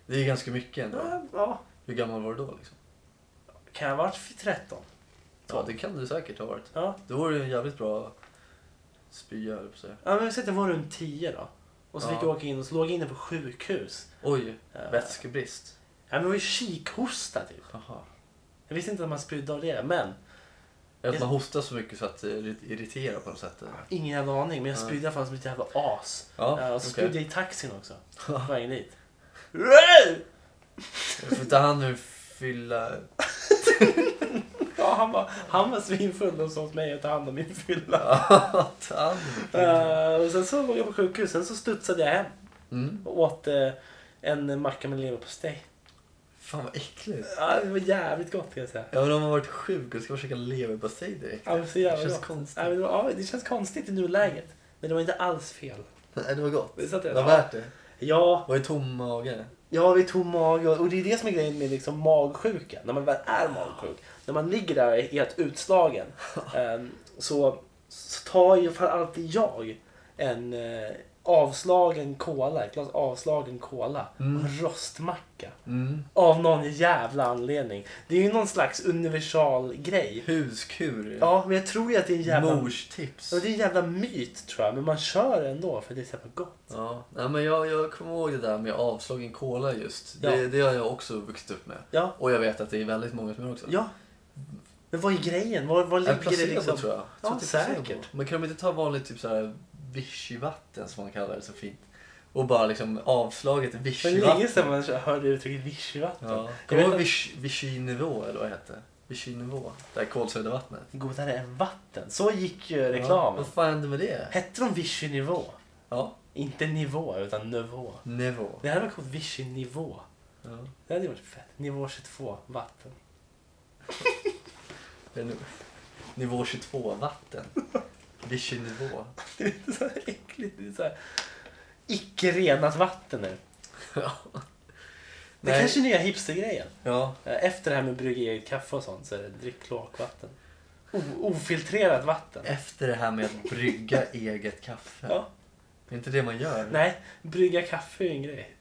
A: Det är ju ganska mycket ändå.
B: Ja, ja.
A: Hur gammal var du då liksom?
B: Kan jag ha varit 13?
A: Ja, det kan du säkert ha varit.
B: Ja.
A: Då var det en jävligt bra spya höll jag på att säga.
B: ja men vi säger att jag var runt 10 då. Och så
A: Ja.
B: fick jag åka in och så låg jag inne på sjukhus.
A: Oj,
B: Eh,
A: vätskebrist.
B: Ja, men det var ju kikhosta typ.
A: Jaha.
B: Jag visste inte att man spydde av det, men
A: Är det Att man hostar så mycket så att det irrit- irriterar på något sätt. eller?
B: ingen jävla aning. Men jag
A: Ja.
B: spydde i alla fall som ett jävla as. Ja,
A: Ja,
B: och så
A: okej.
B: spydde jag i taxin också. På vägen dit.
A: Du får ta hand om hur fylla... *laughs*
B: Ja, han, var, han var svinfull och sa åt mig att ta hand om min fylla.
A: Ja, fan.
B: Eh, och sen så var jag på sjukhus, sen så studsade jag hem
A: Mm.
B: och åt eh, en macka med leverpastej.
A: Fan vad äckligt.
B: Ja, det var jävligt gott kan jag säga.
A: Ja men om man varit sjuk och ska försöka leva på sig direkt.
B: Ja, men så
A: Det
B: jävla
A: känns
B: gott.
A: konstigt.
B: Ja, men det, var, ja, det känns konstigt i nuläget. Men det var inte alls fel.
A: Nej det var gott.
B: Det satt
A: Det
B: jag-
A: var värt det.
B: Ja,
A: Var ju tom mage.
B: ja vi tog mag och, och det är det som är grejen med liksom magsjuka. När man väl är magsjuk. När man ligger där helt
A: *laughs*
B: utslagen. eh, så, så tar ju fan alltid jag en eh, avslagen cola. Ett glas avslagen cola. Och en rostmacka.
A: Mm.
B: Av någon jävla anledning. Det är ju någon slags universal grej.
A: Huskur.
B: Ja, men jag tror ju att det är en jävla...
A: Morstips.
B: Ja, det är en jävla myt tror jag, men man kör ändå för det är så jävla gott.
A: Ja, nej, men jag, jag kommer ihåg det där med avslagen cola just.
B: Ja.
A: Det, det har jag också vuxit upp med.
B: Ja,
A: Och jag vet att det är väldigt många som gör också.
B: ja. Men vad är grejen? Var, var
A: En
B: ligger det
A: placebo
B: liksom?
A: tror jag. jag
B: Ja,
A: tror att det är placebo.
B: säkert.
A: Men kan de inte ta vanligt typ så här vichyvatten som man kallar det så fint? Och bara liksom avslaget
B: Det var länge
A: vichyvatten.
B: sedan man hörde uttrycket vichyvatten.
A: Ja.
B: Jag
A: Kommer
B: vet
A: du ihåg
B: att-
A: vichy- vichy-nivå eller vad det hette? Vichy-nivå. Det här kolsyrevattnet.
B: Godare än vatten. Så gick ju
A: Ja.
B: reklamen.
A: Vad fan hände med det?
B: Hette de vichy-nivå?
A: Ja.
B: Inte nivå, utan nivå.
A: Nivå.
B: Det hade varit coolt, vichy-nivå.
A: Ja.
B: Det hade ju varit fett. Nivå 22, vatten. *laughs*
A: Det är nu- Nivå 22 vatten. Vichy-nivå.
B: Det är inte så här äckligt. Det är så här... Icke renat vatten nu.
A: Ja.
B: Det
A: Nej.
B: kanske är nya hipstergrejen.
A: Ja.
B: Eh, Efter det här med brygga eget kaffe och sånt så är det drick kloakvatten. O- ofiltrerat vatten.
A: Efter det här med att brygga eget kaffe.
B: Ja.
A: Det är inte det man gör.
B: Nej, brygga kaffe är ju en *laughs* grej.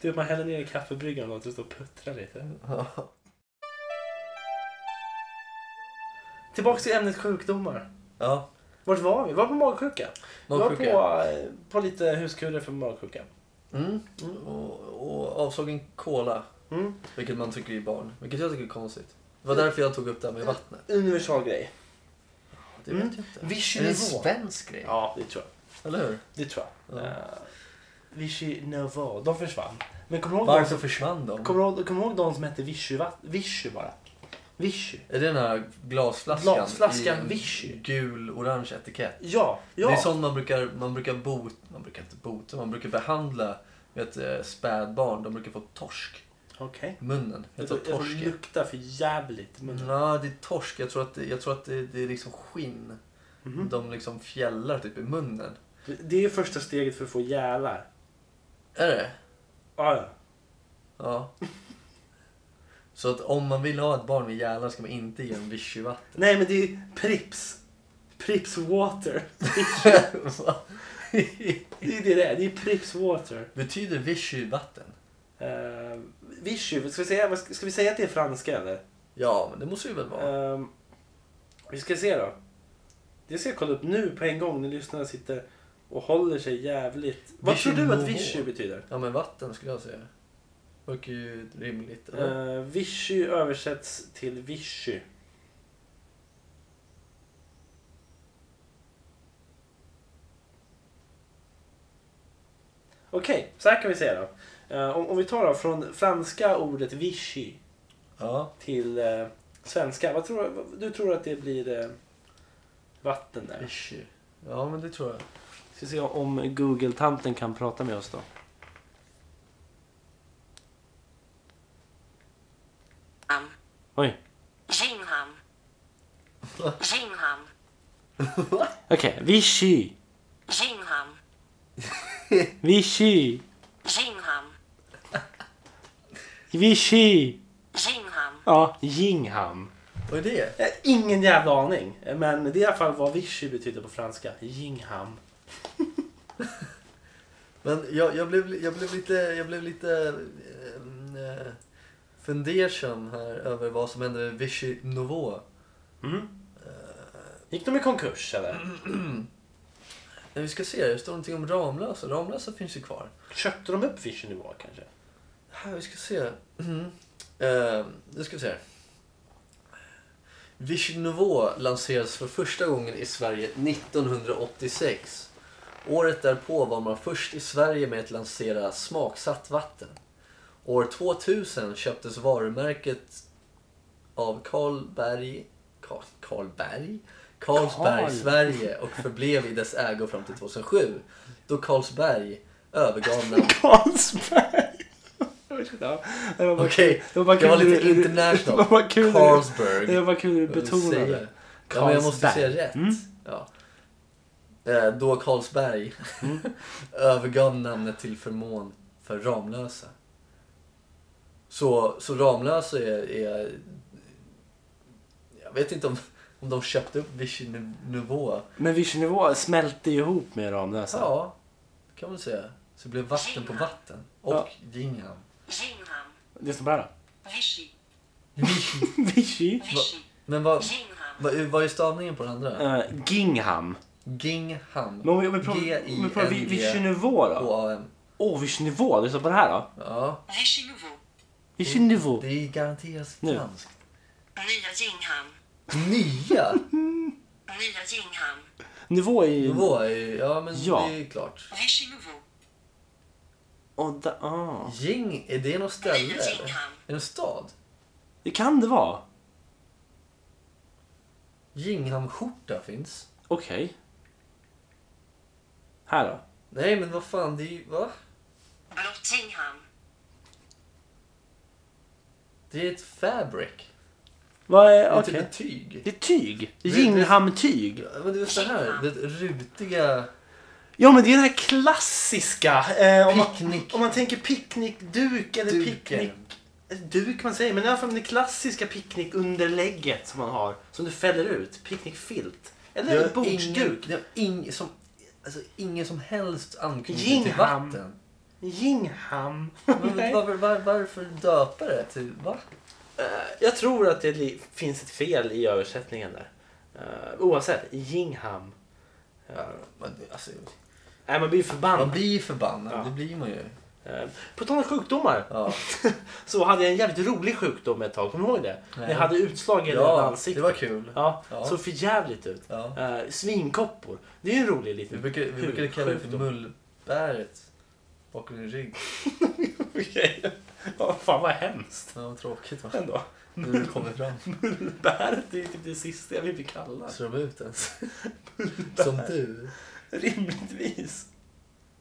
B: du vet, man häller ner i kaffebryggan och låter det stå och puttra lite.
A: Ja.
B: Tillbaks till ämnet sjukdomar.
A: Ja.
B: Vart var vi? Vi var på magsjuka. Vi var
A: Magsjuka.
B: på, eh, på lite huskurer för magsjuka.
A: Mm. Och, och avsåg en cola.
B: Mm.
A: Vilket man tycker är barn. Vilket jag tycker är konstigt. Det var därför jag tog upp det här med vattnet.
B: Universal grej.
A: Det
B: Mm.
A: vet jag inte. Är det en
B: Vichy-nivå.
A: svensk grej?
B: Ja, det tror jag.
A: Eller hur?
B: Det tror jag.
A: Ja.
B: Eh, Vichy-nivå. De försvann. Men kommer du ihåg de
A: Varför försvann de?
B: Kommer du ihåg, kommer du ihåg de som hette Vichy? va? Vichy bara. Vichy.
A: Är det den här glasflaskan?
B: Glasflaskan
A: i en
B: Vichy.
A: Gul-orange etikett.
B: Ja, ja.
A: Det är sånt man brukar, man brukar bota, man brukar inte bota, man brukar behandla vet, eh, spädbarn. De brukar få torsk
B: Okej.
A: i munnen. Jag
B: Jag
A: tror
B: tror- jag tror
A: torsk
B: Det
A: är...
B: luktar för jävligt. Men...
A: Ja, det är torsk. Jag tror att det, jag tror att det, det är liksom skinn.
B: Mhm.
A: De liksom fjällar typ i munnen.
B: Det är första steget för att få gälar.
A: Är det?
B: Ah, ja. *laughs*
A: Ja. Så att om man vill ha ett barn med gälar ska man inte ge dem *laughs*
B: *laughs*
A: vichyvatten.
B: Nej, men det är Prips. Prips water.
A: Va?
B: Det är det det är. Det är Prips water.
A: Betyder vichyvatten?
B: Uh, Vichy. Ska vi, säga, vad ska ska vi säga att det är franska eller?
A: Ja, men det måste ju väl vara.
B: Ehm, vi ska se då. Det ska jag kolla upp nu på en gång när lyssnarna sitter och håller sig jävligt... Vad
A: Vichy
B: tror du att
A: Nouveau.
B: Vichy betyder?
A: Ja, men vatten skulle jag säga. Verkar ju rimligt. eller?
B: Uh, Vichy översätts till Vichy. Okej, så här kan vi säga då. Eh, om, om vi tar då från franska ordet Vichy
A: Ja.
B: till eh, svenska. Vad tror, vad, du tror att det blir eh, vatten där?
A: Vichy. Ja, men det tror jag.
B: Ska se om Google-tanten kan prata med oss då.
C: Am.
B: Oj.
C: Gingham. Gingham.
B: Okej, Vichy.
C: Gingham.
B: Vichy.
C: Gingham.
B: Vichy.
C: Gingham.
B: Ja, Jingham.
A: Vad är det?
B: Eh, Ingen jävla aning. Eh, Men det är i alla fall vad Vichy betyder på franska. Jingham.
A: Men jag, jag, blev, jag blev lite, jag blev lite eh, fundersam här över vad som hände med Vichy Nouveau.
B: Gick de i konkurs eller?
A: Men vi ska se, det står någonting om Ramlösa. Ramlösa finns ju kvar.
B: Köpte de upp Vichy nivå kanske?
A: Här, vi ska se. Mm. Eh, nu ska vi se. Vichy Nouveau lanserades för första gången i Sverige 1986. Året därpå var man först i Sverige med att lansera smaksatt vatten. År 2000 köptes varumärket av Karlberg, Karl, Karlberg? Carlsberg
B: Karl.
A: Sverige och förblev i dess ägo fram till 2007 då Carlsberg övergav namnet.
B: Carlsberg. Ja, det var bara
A: Okej,
B: kul. det var bara
A: det var
B: kul.
A: lite
B: Det var
A: international.
B: bara kul.
A: Carlsberg.
B: Det var bara kul att du
A: Vad vill du säga?
B: betonade.
A: Ja, men jag måste
B: Carlsberg.
A: säga rätt.
B: Mm.
A: Ja. Eh, Då Carlsberg
B: Mm.
A: *laughs* övergav namnet till förmån för Ramlösa. Så, så Ramlösa är, är... Jag vet inte om, om de köpte upp Vichy nivå.
B: Men Vichy-nivå smälte ju ihop med Ramlösa.
A: Ja, det kan man säga. Så det blev vatten på vatten. Och
B: Ja.
A: Gingham.
C: Gingham.
B: Lyssna på det här
C: Vichy.
B: då. *laughs* Vichy.
C: Vichy.
A: Men vad,
C: Gingham.
A: vad, vad är stavningen på den andra?
B: Eh, Gingham.
A: Gingham.
B: Men om vi, om vi pratar, om vi pratar Vi- Vichy-nivå då?
A: G-I-N-G-H-A-M.
B: Åh, oh, Vichy-nivå. Lyssna på det här då.
A: Ja.
C: Vichy Nouveau.
B: Vichy-nivå.
A: Det är garanterat
B: Nu.
A: franskt.
C: Nya Gingham.
A: Nya
B: Mm.
C: Nya Gingham.
B: Nivå är ju...
A: nivå är ju, ja men
B: Ja.
A: det är ju klart.
C: Vichy Nouveau.
B: Åh, da, ah.
A: Jing, är det något ställe
C: Nya
A: eller?
C: Gingham.
A: Är det en stad?
B: Det kan det vara.
A: Jinghamskjorta finns.
B: Okej. Här då.
A: Nej men vad fan, det är ju, va?
C: Blått Gingham.
A: Det är ett fabric.
B: Vad
A: Det
B: är...
A: är
B: Okej.
A: typ ett tyg.
B: Det är tyg.
A: det-
B: Gingham-tyg.
A: Ja, Men det är så här, det är rutiga...
B: Ja, men det är den här klassiska. Eh, om, man,
A: Picknick.
B: om man tänker picknickduk eller
A: Duken.
B: picknick... eh, Duk man säger, men i alla fall det klassiska picknickunderlägget som man har. Som du fäller ut. Picknickfilt. Eller
A: Det har
B: en bordsduk.
A: ingen- Det har ing, som, alltså, ingen som helst anknytning till
B: Gingham.
A: vatten. *laughs*
B: Gingham.
A: Men
B: Nej.
A: var, var, varför döpa det till, va?
B: Eh, Jag tror att det li- finns ett fel i översättningen där. Eh, oavsett, Gingham.
A: Ja, men, det- alltså,
B: Nej, man blir ju
A: man
B: förbannad.
A: blir ju förbannad,
B: Ja.
A: det blir man ju.
B: Eh, På tal om sjukdomar
A: Ja.
B: *laughs* så hade jag en jävligt rolig sjukdom ett tag. Kommer du ihåg det?
A: Nej.
B: När jag hade utslag i hela
A: Ja,
B: ansiktet.
A: det var kul.
B: Ja,
A: Ja.
B: såg för jävligt ut.
A: Ja.
B: Eh, svinkoppor. Det är ju en rolig
A: Vi
B: liten
A: brukade, vi brukade kalla det för
B: sjukdom.
A: mullbäret. Bakom din rygg.
B: *laughs* Okej. Ja, fan vad hemskt
A: Ja, vad tråkigt
B: *laughs*
A: va?
B: ändå.
A: Nu har det kommit fram.
B: Mullbäret det är ju typ det sista jag vill bli kallad.
A: Ser de ut ens? Som du?
B: Rimligtvis.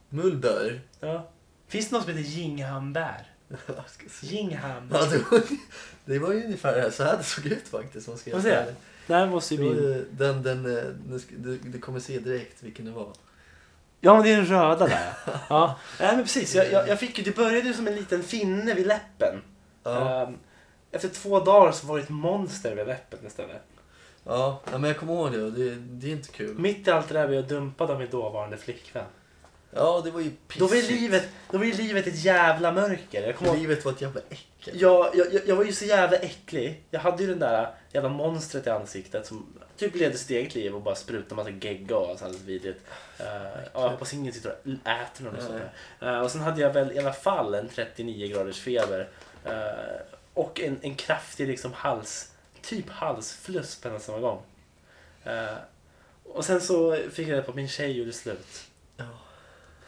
A: Mullbär?
B: Ja. Finns det något som heter Jinghambär?
A: Jag ska se.
B: Jingham.
A: Ja, det, var, det var ju ungefär så här det såg ut faktiskt. Man ska
B: Vad säger jag? Det här måste ju
A: Det var
B: bli...
A: ju den, den, eh, nu ska- du, du kommer se direkt vilken det var.
B: Ja, men det är den röda där. ja. Nej, men precis. Jag, jag, jag fick ju, det började ju som en liten finne vid läppen.
A: Ja,
B: Ehm, efter två dagar så var det ett monster vid läppen istället.
A: ja. ja men jag kommer ihåg det och det, det är inte kul.
B: Mitt i allt det där blev jag dumpad av min dåvarande flickvän.
A: Ja, det var ju pissigt.
B: Då var, ju livet, då var ju livet ett jävla mörker. Jag, kommer ihåg-
A: Livet var ett jävla äckel.
B: jag, jag, jag- jag var ju så jävla äcklig. Jag hade ju den där jävla monstret i ansiktet som typ levde sitt eget liv och bara sprutade massa gegga och så alldeles vidrigt. Eh, ja, jag hoppas ingen sitter och äter någon och sånt där. Eh, Och sen hade jag väl i alla fall en 39 graders feber. eh, och en, en kraftig liksom hals, typ halsfluss på en och samma gång. Eh, och sen så fick jag reda på att min tjej gjorde slut.
A: Ja.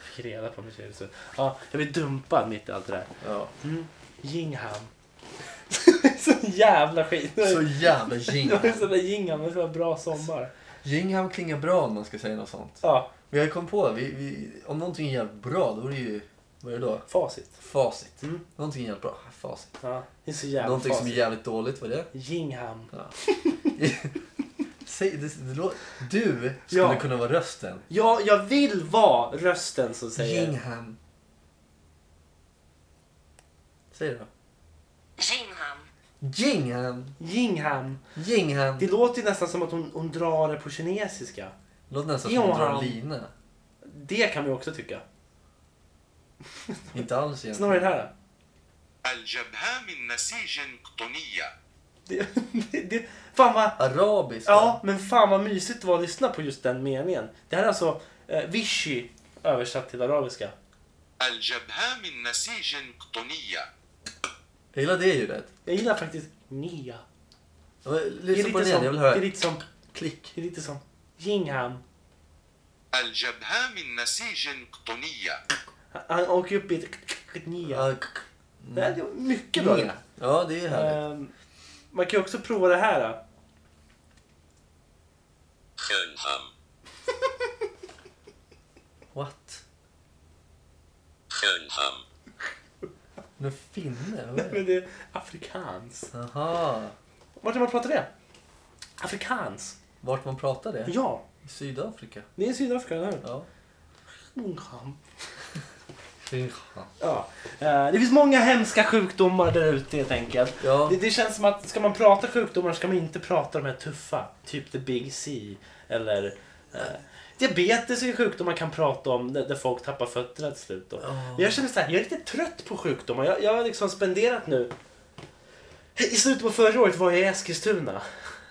B: Fick reda på att min tjej gjorde slut. Ja, jag blev dumpad mitt i allt det där.
A: Ja.
B: Gingham. *laughs* så jävla skit.
A: Så jävla
B: *laughs* Det var ju
A: Gingham.
B: sån där Gingham, det var en bra sommar.
A: Gingham klingar bra om man ska säga något sånt.
B: Ja,
A: Men jag kom på, vi, vi, om någonting är jävligt bra då är det ju, vad är det då?
B: facit.
A: Facit.
B: Mm.
A: Någonting är jävligt bra, facit.
B: Ja, det är så jävla
A: någonting som är
B: facit.
A: jävligt dåligt, vad är det? *laughs*
B: Gingham.
A: Ja. Säg, det, det lå- du skulle
B: Ja.
A: kunna vara rösten.
B: Ja, jag vill vara rösten som säger...
A: Gingham. Säg det då.
C: Gingham.
A: Gingham.
B: Gingham.
A: Gingham.
B: Det låter ju nästan som att hon, hon drar det på kinesiska.
A: Låter nästan som att dra en
B: Johan.
A: lina.
B: Det kan vi också tycka.
A: Inte alls egentligen.
B: Snarare det här.
D: الجبهة من نسيج قطنية
B: Det, *laughs* det, det, fan vad...
A: Arabiska.
B: Ja, men fan vad mysigt det var att lyssna på just den meningen. Det här är alltså eh, Vichy översatt till arabiska.
D: الجبهة من نسيج قطنية
A: Jag gillar det ljudet.
B: Jag gillar faktiskt nya.
A: Ja, men
B: Det är
A: Lyssna på
B: lite
A: den igen, jag vill
B: som, det är
A: höra.
B: lite som,
A: Klick.
B: det är lite som Gingham.
D: الجبهة من نسيج قطنية
B: Han, han åker upp i ett nya.
A: Ja, k- k-
B: Det här är mycket bra.
A: Mm. Ja, det är ju härligt.
B: Ehm, man kan ju också prova det här. Då.
E: Skönham.
A: What?
E: Skönham.
A: Nu finne? Vad är det?
B: Men det är afrikans.
A: Jaha.
B: Vart har man pratat det? Afrikans.
A: Vart man pratar det?
B: Ja,
A: I Sydafrika?
B: det är Sydafrika, eller hur?
A: Ja.
B: Skönham.
A: Fincham.
B: Ja. Eh, Det finns många hemska sjukdomar där ute helt enkelt.
A: Ja.
B: Det, det känns som att ska man prata sjukdomar ska man inte prata de här tuffa. Typ the big C. Eller eh, diabetes är ju sjukdom man kan prata om där, där folk tappar fötterna till slut. Då. Men Jag känner så här, jag är lite trött på sjukdomar. Jag, jag har liksom spenderat nu. I slutet på förra året var jag i Eskilstuna.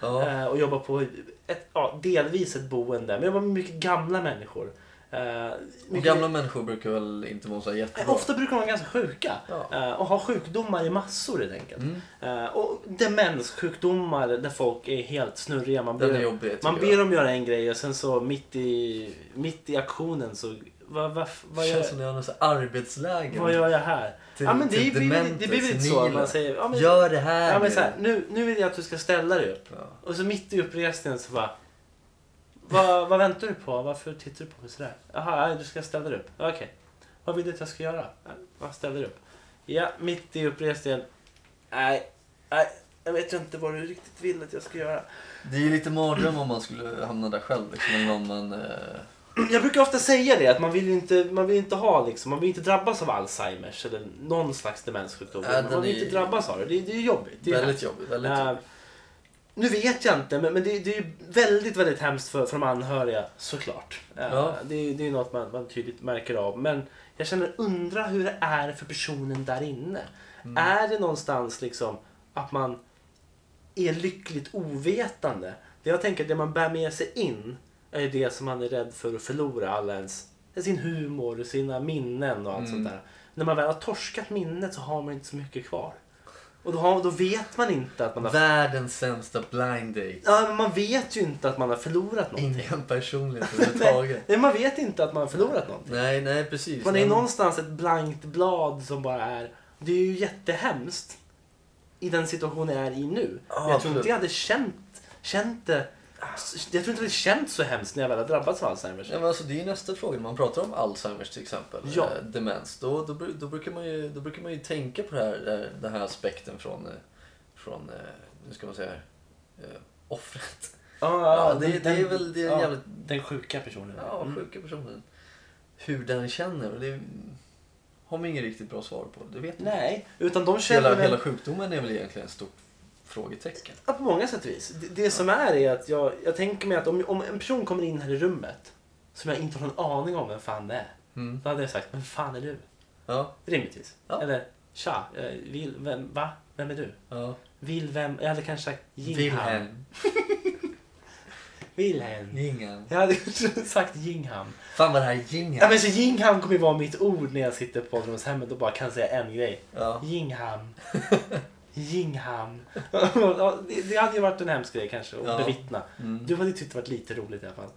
A: Ja.
B: Eh, och jobbar på ett, ja, delvis ett boende. Men jag jobbar med mycket gamla människor. Eh,
A: Och
B: mycket-
A: gamla människor brukar väl inte må så här
B: Nej,
A: jättebra?
B: Eh, Ofta brukar de vara ganska sjuka
A: Ja.
B: eh, och ha sjukdomar i massor helt enkelt.
A: Mm.
B: Eh, Och demenssjukdomar där folk är helt snurriga. Man
A: Den är
B: ber,
A: jobbig tycker
B: man
A: jag.
B: ber dem göra en grej och sen så mitt i, mitt i aktionen så... Vad, vad, vad,
A: Det
B: gör,
A: känns som att jag har något så här arbetsläger.
B: vad gör jag här?
A: Till-
B: ja, men det,
A: till
B: blir, väl- det
A: dementa,
B: blir väl lite så. att
A: senila.
B: Man säger, ja, men,
A: Gör det här
B: ja, men
A: nu.
B: så här, nu, nu vill jag att du ska ställa dig upp.
A: Ja.
B: Och så mitt i uppresningen så bara... Vad, vad väntar du på? Varför tittar du på mig sådär? Jaha, nej, du ska ställa dig upp. Okej. Vad vill du att jag ska göra? "Nej, Vad ställer dig upp? Ja, mitt i uppresningen. Nej, nej. Jag vet inte vad du riktigt vill att jag ska göra.
A: Det är ju lite mardröm om man skulle hamna där själv. Liksom, eller om man, eh,
B: *clears throat* Jag brukar ofta säga det att man vill ju inte, man vill inte ha liksom, man vill inte drabbas av Alzheimers eller någon slags demenssjukdom.
A: Nej, den
B: man vill
A: är-
B: inte drabbas av det. Det, är- det är jobbigt. Det är
A: väldigt
B: hemskt.
A: jobbigt. Väldigt
B: Eh,
A: jobbigt.
B: nu vet jag inte, men, men det, det är ju väldigt, väldigt hemskt för, för de anhöriga såklart. Eh,
A: Ja.
B: Det, är- det är något man, man tydligt märker av. Men jag känner, undra hur det är för personen där inne.
A: Mm.
B: Är det någonstans liksom att man är lyckligt ovetande? Det jag tänker att det man bär med sig in är det som man är rädd för att förlora. All ens, sin humor, sina minnen och allt sånt där. När man väl har torskat minnet så har man inte så mycket kvar. Och då, har, då vet man inte att man har
A: Världens sämsta blind date.
B: Ja, men man vet ju inte att man har förlorat någonting.
A: Ingen personlighet
B: Nej,
A: överhuvudtaget.
B: *laughs* nej, man vet inte att man har förlorat någonting.
A: Nej, nej precis.
B: Man är
A: Nej, men-
B: någonstans ett blankt blad som bara är... Det är ju jättehemskt i den situation jag är i nu.
A: Ja,
B: Men jag tror
A: absolut.
B: inte jag hade känt, känt det... Jag tror inte det känt så hemskt när jag väl har drabbats av Alzheimers.
A: Ja, men alltså, det är ju nästa fråga. När man pratar om Alzheimers till exempel,
B: Ja.
A: eh, demens, då, då, bru- då, brukar man ju, då brukar man ju tänka på det här, det här- den här aspekten från, eh, från eh, nu ska man säga, eh, offret. Ja, det- det är väl- det är en
B: ja,
A: jävligt-
B: Den sjuka personen.
A: Ja,
B: Mm.
A: sjuka personen. Hur den känner, och det har man inget riktigt bra svar på. Det vet man
B: Nej, utan de
A: inte.
B: känner
A: Hela,
B: väl-
A: hela sjukdomen är väl egentligen ett stort frågetecken.
B: Ja, på många sätt och vis. Det, det som är är att jag, jag tänker mig att om, om en person kommer in här i rummet som jag inte har någon aning om vem fan det är.
A: Mm.
B: Då hade jag sagt, vem fan är du?
A: Ja,
B: Rimligtvis.
A: Ja.
B: Eller, tja, eh, vill, vem, va? Vem är du?
A: ja.
B: Vill vem? Jag hade kanske sagt Jingham.
A: Wilhelm.
B: Wilhelm.
A: Gingham.
B: Jag hade *laughs* kanske sagt Jingham.
A: Fan vad det här är
B: Ja,
A: Gingham.
B: men så Jingham kommer ju vara mitt ord när jag sitter på ålderdomshemmet och bara kan säga en grej.
A: Ja. *laughs*
B: Jingham. Jingham. Ja, det, det hade ju varit en hemsk grej kanske att
A: Ja.
B: bevittna.
A: Mm.
B: Du hade ju tyckt det varit lite roligt i alla fall.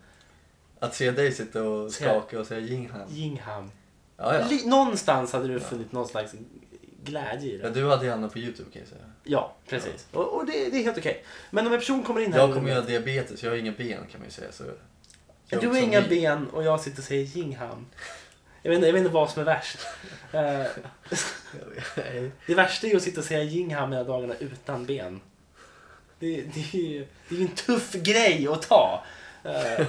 A: Att se dig sitta och
B: Ska jag-
A: skaka och säga Gingham.
B: Jingham.
A: Ja, ja.
B: Li- Någonstans hade du funnit någon slags glädje i
A: ja,
B: det.
A: du hade ju hamnat på Youtube kan jag säga.
B: Ja, precis. Och, och det, det är helt okej. Men om en person kommer in här...
A: Jag kommer ju ha diabetes, jag har inga ben kan man ju säga. Så
B: Du har
A: som
B: inga
A: ni.
B: ben och jag sitter och säger Jingham. Jag vet, inte- jag vet inte vad som
A: *laughs*
B: är värst. Eh,
A: Jag vet- nej.
B: det värsta är ju att sitta och säga Jingham hela dagarna utan ben. Det, det, är, ju, det är ju en tuff grej att ta. Eh,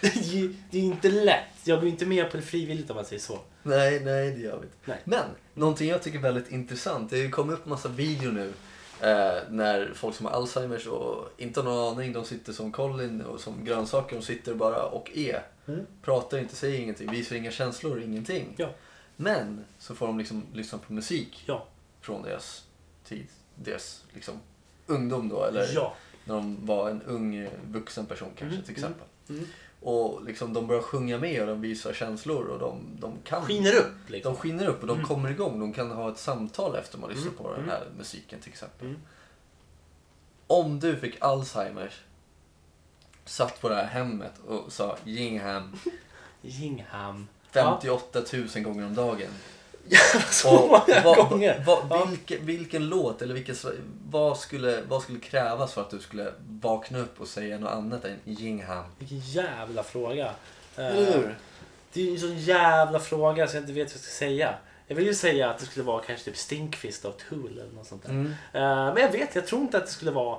B: det, är ju, det är ju inte lätt. Jag går ju inte med på det frivilligt om man säger så.
A: nej, nej det gör vi inte.
B: Nej.
A: Men, någonting jag tycker är väldigt intressant. Det har ju kommit upp massa videor nu. Eh, när folk som har Alzheimers och inte har någon aning, de sitter som Colin och som grönsaker. De sitter bara och är. Pratar inte, säger ingenting, visar inga känslor, ingenting.
B: Mm. Ja.
A: Men, så får de liksom lyssna på musik
B: Ja.
A: från deras tid, deras liksom ungdom då. Eller
B: Ja.
A: när de var en ung eh, vuxen person kanske till exempel.
B: mm,
A: Och liksom de börjar sjunga med och de visar känslor och de, de kan.
B: Skiner upp liksom.
A: De skiner upp och de kommer igång. De kan ha ett samtal efter man lyssnar på den här musiken till exempel.
B: Mm.
A: Om du fick Alzheimers, satt på det här hemmet och sa Gingham
B: Jingham. Ja.
A: 58 000 gånger om dagen.
B: Jävlar, *laughs* så
A: Och
B: många
A: vad-
B: *laughs* gånger.
A: vad-
B: Ja.
A: vilken, vilken låt eller vilken, sv- vad, skulle, vad skulle krävas för att du skulle vakna upp och säga något annat än Jingham?
B: Vilken jävla fråga. Eh,
A: Eller hur?
B: Det är ju en sån jävla fråga så jag inte vet vad jag ska säga. Jag vill ju säga att det skulle vara kanske typ Stinkfist av Tool eller något sånt där.
A: Mm.
B: Eh, men jag vet, jag tror inte att det skulle vara...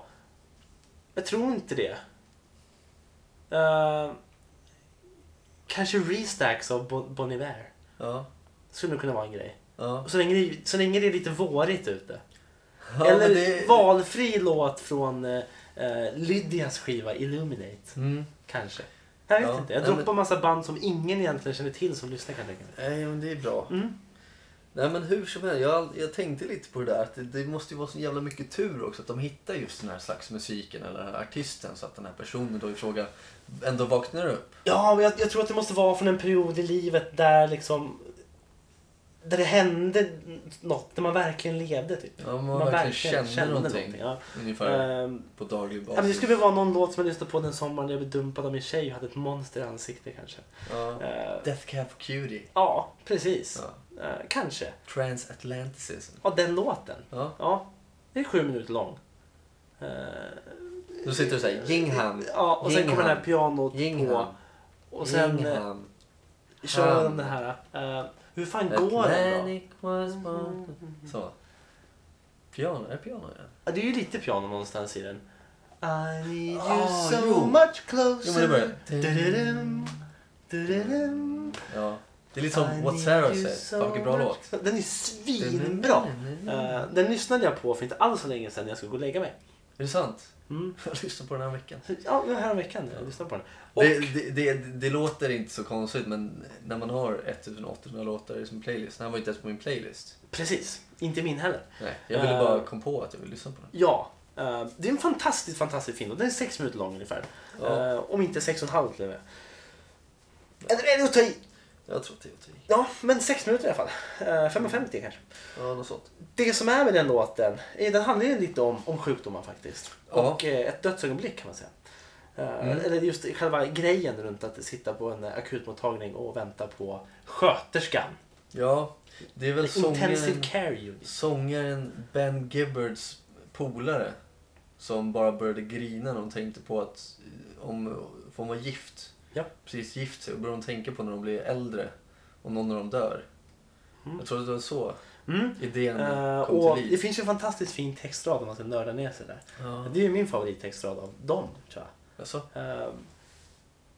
B: Jag tror inte det. Eh, kanske Restacks av bon, bon Iver.
A: Ja.
B: Skulle nog kunna vara en grej.
A: ja.
B: Och Så länge, det- så länge det är lite vårigt ute.
A: ja
B: eller
A: men det-
B: valfri låt från eh, eh, Lydias skiva Illuminate.
A: Mm.
B: Kanske. Jag vet
A: Ja,
B: inte. Jag
A: nej,
B: droppar massa band som ingen egentligen känner till som lyssnar kan jag tänka mig.
A: Nej, men det är bra.
B: Mm.
A: Nej, men hur som helst. Jag, har ald- jag tänkte lite på det där. Att det, det måste ju vara så jävla mycket tur också att de hittar just den här slags musiken eller den här artisten så att den här personen då i fråga ändå vaknar upp.
B: Ja, men jag, jag tror att det måste vara från en period i livet där liksom där det hände något, när man verkligen levde typ.
A: Ja, man, verkligen känner någonting.
B: ja.
A: Ungefär
B: Ehm,
A: på daglig
B: ja,
A: basis.
B: men det skulle väl vara någon låt som jag lyssnade på den sommaren jag blev dumpad av min tjej och hade ett monster i ansiktet kanske.
A: ja.
B: Ehm,
A: Death Cab for Cutie.
B: ja, precis.
A: Ja.
B: Ehm, kanske.
A: Transatlanticism.
B: Ja, den låten.
A: Ja.
B: Ja, det är sju minuter lång. Ehm,
A: Då sitter du såhär, Jingham.
B: Mm. ja, och sen kommer den här pianot på.
A: Jingham.
B: Och sen eh,
A: Jingham.
B: kör de
A: Hand.
B: den här. eh, hur fan går den då? Mm,
A: Atlantic was born. Så. Piano, är det piano ja.
B: Ja, det är ju lite piano någonstans i den. I need you
A: Ah,
B: so
A: jo.
B: much
A: Jo, men det
B: closer.
A: börjar.
B: Du-du-dum, du-du-dum.
A: ja. Det är lite
B: I
A: som What
B: need
A: Sarah
B: you
A: säger. Fan vilken bra
B: much-
A: låt.
B: Den är svinbra. Eh, den lyssnade jag på för inte alls så länge sedan när jag skulle gå och lägga mig.
A: Är det sant? *laughs*
B: Mm.
A: Jag lyssnade på den här veckan.
B: Så, Ja, det var häromveckan jag lyssnade på den. Och,
A: Det, det, det, det låter inte så konstigt men när man har 1800 låtar i sin playlist. Den här var inte ens på min playlist.
B: Precis, inte min heller.
A: Nej, jag ville
B: Eh.
A: bara kom på att jag ville lyssna på den.
B: Ja, eh, det är en fantastiskt, fantastisk film. och Den är sex minuter lång ungefär.
A: Ja.
B: Eh, om inte sex och en halv till och med. Eller är det att ta i?
A: Jag tror att det är okej.
B: Ja, men sex minuter i alla fall. Eh, 5.50 kanske.
A: Ja, något sånt.
B: Det som är med den låten, eh, den handlar ju lite om, om sjukdomar faktiskt.
A: Ja. Mm.
B: Och eh, ett dödsögonblick kan man säga. Eh, Eller just själva grejen runt att sitta på en eh, akutmottagning och vänta på sköterskan.
A: Ja, det är väl
B: Intensive
A: sångaren,
B: care unit.
A: sångaren Ben Gibbards polare som bara började grina när de tänkte på att eh, om, för hon var gift,
B: Ja.
A: precis gift sig, och började de tänka på när de blir äldre, om någon av dem dör. Jag tror att det var så
B: Mm.
A: idén
B: Eh,
A: kom
B: och
A: till
B: det
A: liv.
B: finns ju en fantastiskt fin textrad om man ska nörda ner sig där.
A: Ja.
B: Det är ju min favorittextrad av dem, tror jag.
A: Alltså,
B: Eh,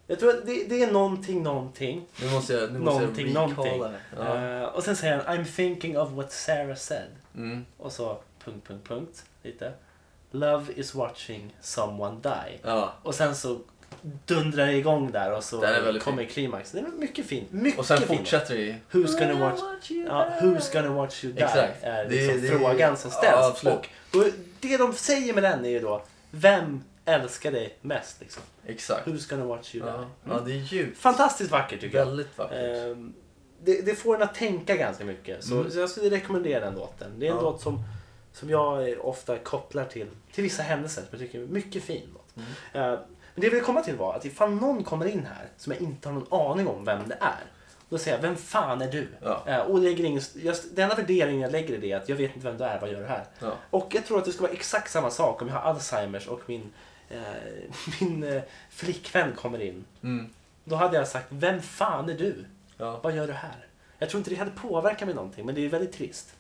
B: jag tror att det, det är någonting, någonting.
A: nu måste jag, nu måste
B: Någonting,
A: jag recalla
B: någonting.
A: det. Ja.
B: Eh, och sen säger han I'm thinking of what Sarah said.
A: Mm.
B: Och så punkt, punkt, punkt. Lite. Love is watching someone die.
A: ja.
B: Och sen så dundrar det igång där och så
A: Den är väldigt
B: kommer
A: fin.
B: klimax. Det är mycket fint. Mycket
A: Och sen
B: fint.
A: fortsätter det i...
B: Who's gonna watch,
A: you
B: ja, who's gonna watch you die?
A: Exakt.
B: Är
A: Det-
B: liksom
A: det-
B: frågan som
A: ja,
B: ställs.
A: absolut.
B: och, och det de säger med den är ju då, vem älskar dig mest? Liksom?
A: Exakt.
B: Who's gonna watch you die?
A: Ja. ja, det är djupt.
B: Fantastiskt vackert tycker jag.
A: Väldigt vackert. Mm.
B: Ehm, det, det får en att tänka ganska mycket. Så, så jag skulle rekommendera den låten. Det är en
A: Ja.
B: låt som, som jag eh, ofta kopplar till, till vissa händelser. Som jag tycker är en mycket fin låt.
A: Mm.
B: Ehm, men det jag ville komma till var att ifall någon kommer in här som jag inte har någon aning om vem det är. Då säger jag, vem fan är du?
A: Ja.
B: Ehm, och lägger ingen, just, den enda värderingen jag lägger i det är att jag vet inte vem du är, vad gör du här?
A: Ja.
B: Och jag tror att det ska vara exakt samma sak om jag har Alzheimers och min, eh, *laughs* min eh, flickvän kommer in.
A: Mm.
B: Då hade jag sagt, vem fan är du?
A: Ja.
B: Vad gör du här? Jag tror inte det hade påverkat mig någonting, men det är ju väldigt trist.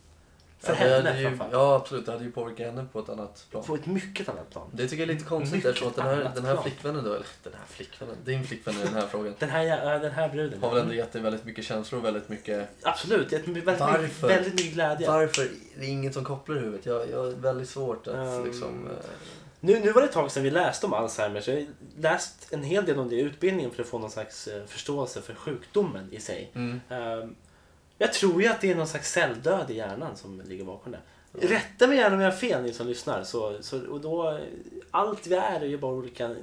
B: För
A: ja, det hade
B: henne
A: ju,
B: framförallt.
A: Ja, absolut. Det hade ju påverkat henne på ett annat plan.
B: På ett mycket annat plan.
A: Det tycker jag är lite konstigt
B: Mycket
A: eftersom att den här,
B: annat
A: den här
B: plan.
A: flickvännen då, eller den här flickvännen, din flickvän i den här frågan,
B: Den här, ja, den här bruden.
A: har väl ändå gett dig väldigt mycket känslor och väldigt mycket...
B: Absolut, det är ett my- väldigt, mycket,
A: Varför?
B: väldigt mycket glädje.
A: Varför? Det är inget som kopplar i huvudet. Jag, jag har väldigt svårt att
B: Ehm,
A: liksom... eh,
B: Nu, nu var det ett tag sedan vi läste om Alzheimers. Jag har läst en hel del om det i utbildningen för att få någon slags eh, förståelse för sjukdomen i sig.
A: Mm.
B: Ehm, Jag tror ju att det är någon slags celldöd i hjärnan som ligger bakom det. Rätta mig gärna om jag har fel ni som lyssnar. Så, så, och då, allt vi är är ju bara olika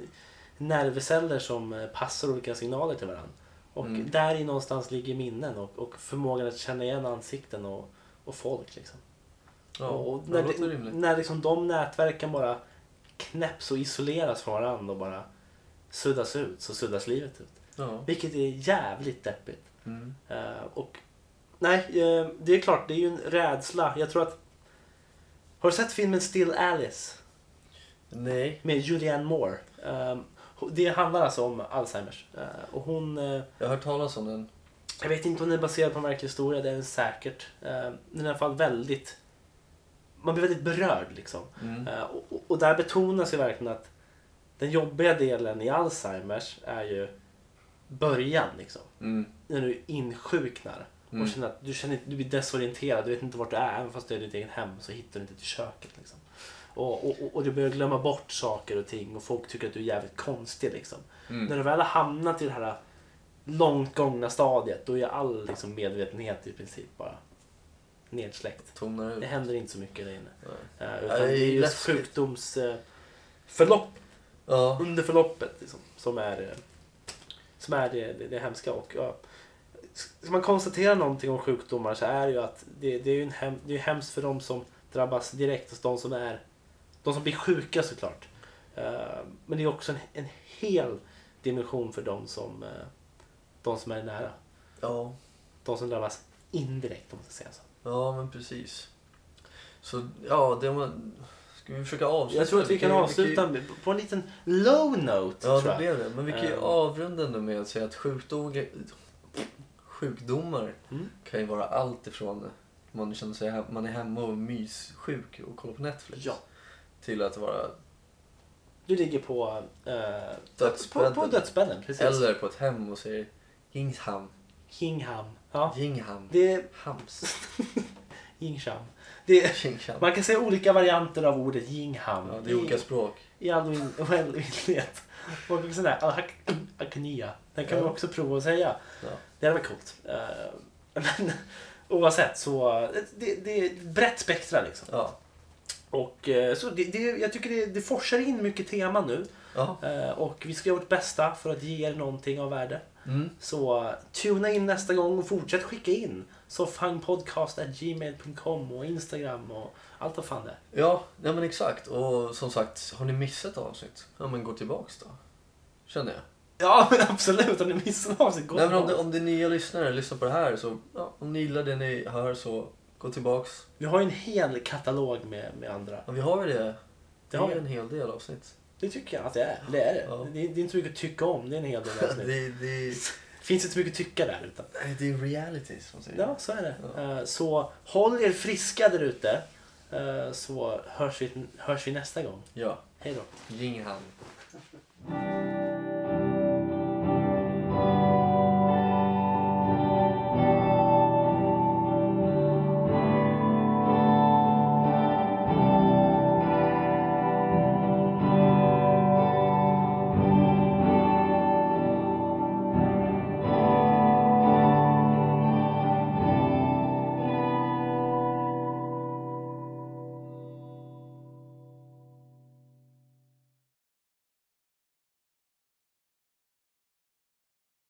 B: nervceller som eh, passar olika signaler till varandra. Och där i någonstans ligger minnen och, och förmågan att känna igen ansikten och, och folk. Liksom.
A: Ja,
B: och
A: det
B: när
A: låter
B: det,
A: rimligt.
B: när liksom de nätverken bara knäpps och isoleras från varandra och bara suddas ut så suddas livet ut.
A: Ja.
B: Vilket är jävligt deppigt.
A: Mm.
B: Eh, och nej, eh, det är klart. Det är ju en rädsla. Jag tror att... Har du sett filmen Still Alice?
A: Nej.
B: Med Julianne Moore. Eh, Det handlar alltså om Alzheimers. Eh, Och hon... eh,
A: Jag har hört talas om den.
B: Jag vet inte om den är baserad på en verklig historia, det är den säkert. Eh, Den är i alla fall väldigt... Man blir väldigt berörd liksom.
A: Mm.
B: Eh, Och, och- och där betonas ju verkligen att den jobbiga delen i Alzheimers är ju början liksom.
A: Mm.
B: När du insjuknar
A: Mm.
B: och känner att du, känner, du blir desorienterad, du vet inte vart du är. Även fast du är i ditt eget hem så hittar du inte till köket liksom. Och, och, och- och du börjar glömma bort saker och ting och folk tycker att du är jävligt konstig liksom.
A: Mm.
B: När du väl har hamnat i det här långt gångna stadiet då är all liksom, medvetenhet i princip bara nedsläckt.
A: Tonar
B: Det
A: ut.
B: händer inte så mycket där inne. Eh,
A: Ja, det
B: Utan
A: är
B: det är
A: ju
B: just
A: läskigt.
B: sjukdomsförlopp
A: Ja.
B: under förloppet liksom, som är, eh, som är det, det, det hemska. Och, ja, ska man konstatera någonting om sjukdomar så är det ju att det, det är ju en hem, det är hemskt för de som drabbas direkt och de som är de som blir sjuka såklart. Eh, Men det är också en, en hel dimension för de som, eh, de som är nära.
A: Ja.
B: De som drabbas indirekt om man ska säga så.
A: Ja, men precis. Så, ja, det var... Ska vi försöka avsluta?
B: Jag tror att vi kan
A: ju-
B: avsluta
A: kan
B: med, på en liten low note.
A: ju, Ja,
B: tror
A: det
B: jag.
A: blev det. Men vi kan ju
B: Ehm.
A: avrunda nu med att säga att sjukdomar, sjukdomar
B: Mm.
A: kan ju vara allt ifrån att man känner sig he- man är hemma och är myssjuk och kollar på Netflix
B: Ja.
A: till att vara
B: Du ligger på, eh,
A: Dödsbädden.
B: på, på dödsbädden. Precis.
A: eller på ett hem och säger Hingham,
B: Hingham. Ja.
A: Jingham,
B: Det är *laughs*
A: Hams,
B: Hingham. Det är,
A: Jingham.
B: man kan säga olika varianter av ordet Jingham.
A: Ja, det är olika
B: i,
A: språk.
B: i all *laughs* oin- oändlighet. Och också sådär, alhak- aknia. Den kan
A: Ja.
B: man också prova att säga.
A: Ja.
B: Det hade varit coolt. Eh, *laughs* men oavsett så, det, det är ett brett spektra liksom.
A: Ja.
B: Och eh, så det, det, jag tycker det, det forsar in mycket tema nu.
A: ja.
B: Eh, Och vi ska göra vårt bästa för att ge er någonting av värde.
A: Mm.
B: Så eh, tuna in nästa gång och fortsätt skicka in. Soffhangpodcast.gmail.com och Instagram och allt vad fan det är.
A: Ja, ja men exakt. Och som sagt, har ni missat avsnitt? Ja men gå tillbaks då. Känner jag.
B: Ja men absolut, om ni missar något avsnitt, gå
A: Nej, men om, det,
B: tillbaka.
A: om det är nya lyssnare lyssnar på det här så, ja, om ni gillar det ni hör så gå tillbaks.
B: Vi har ju en hel katalog med, med andra.
A: Ja, vi har ju det. Det
B: Det har
A: är
B: vi.
A: en hel del avsnitt.
B: Det tycker jag att det är. Det är det.
A: Ja.
B: Det, är- det är inte så mycket att tycka om, det är en hel del
A: Det,
B: avsnitt. *laughs*
A: *laughs*
B: det...
A: det, det,
B: finns inte så mycket att tycka där utan.
A: det är reality som säger.
B: Ja, så är det. Eh, Så håll er friska där ute. Eh, Så hörs vi, hörs vi nästa gång.
A: Ja,
B: Hej då.
A: Jingham.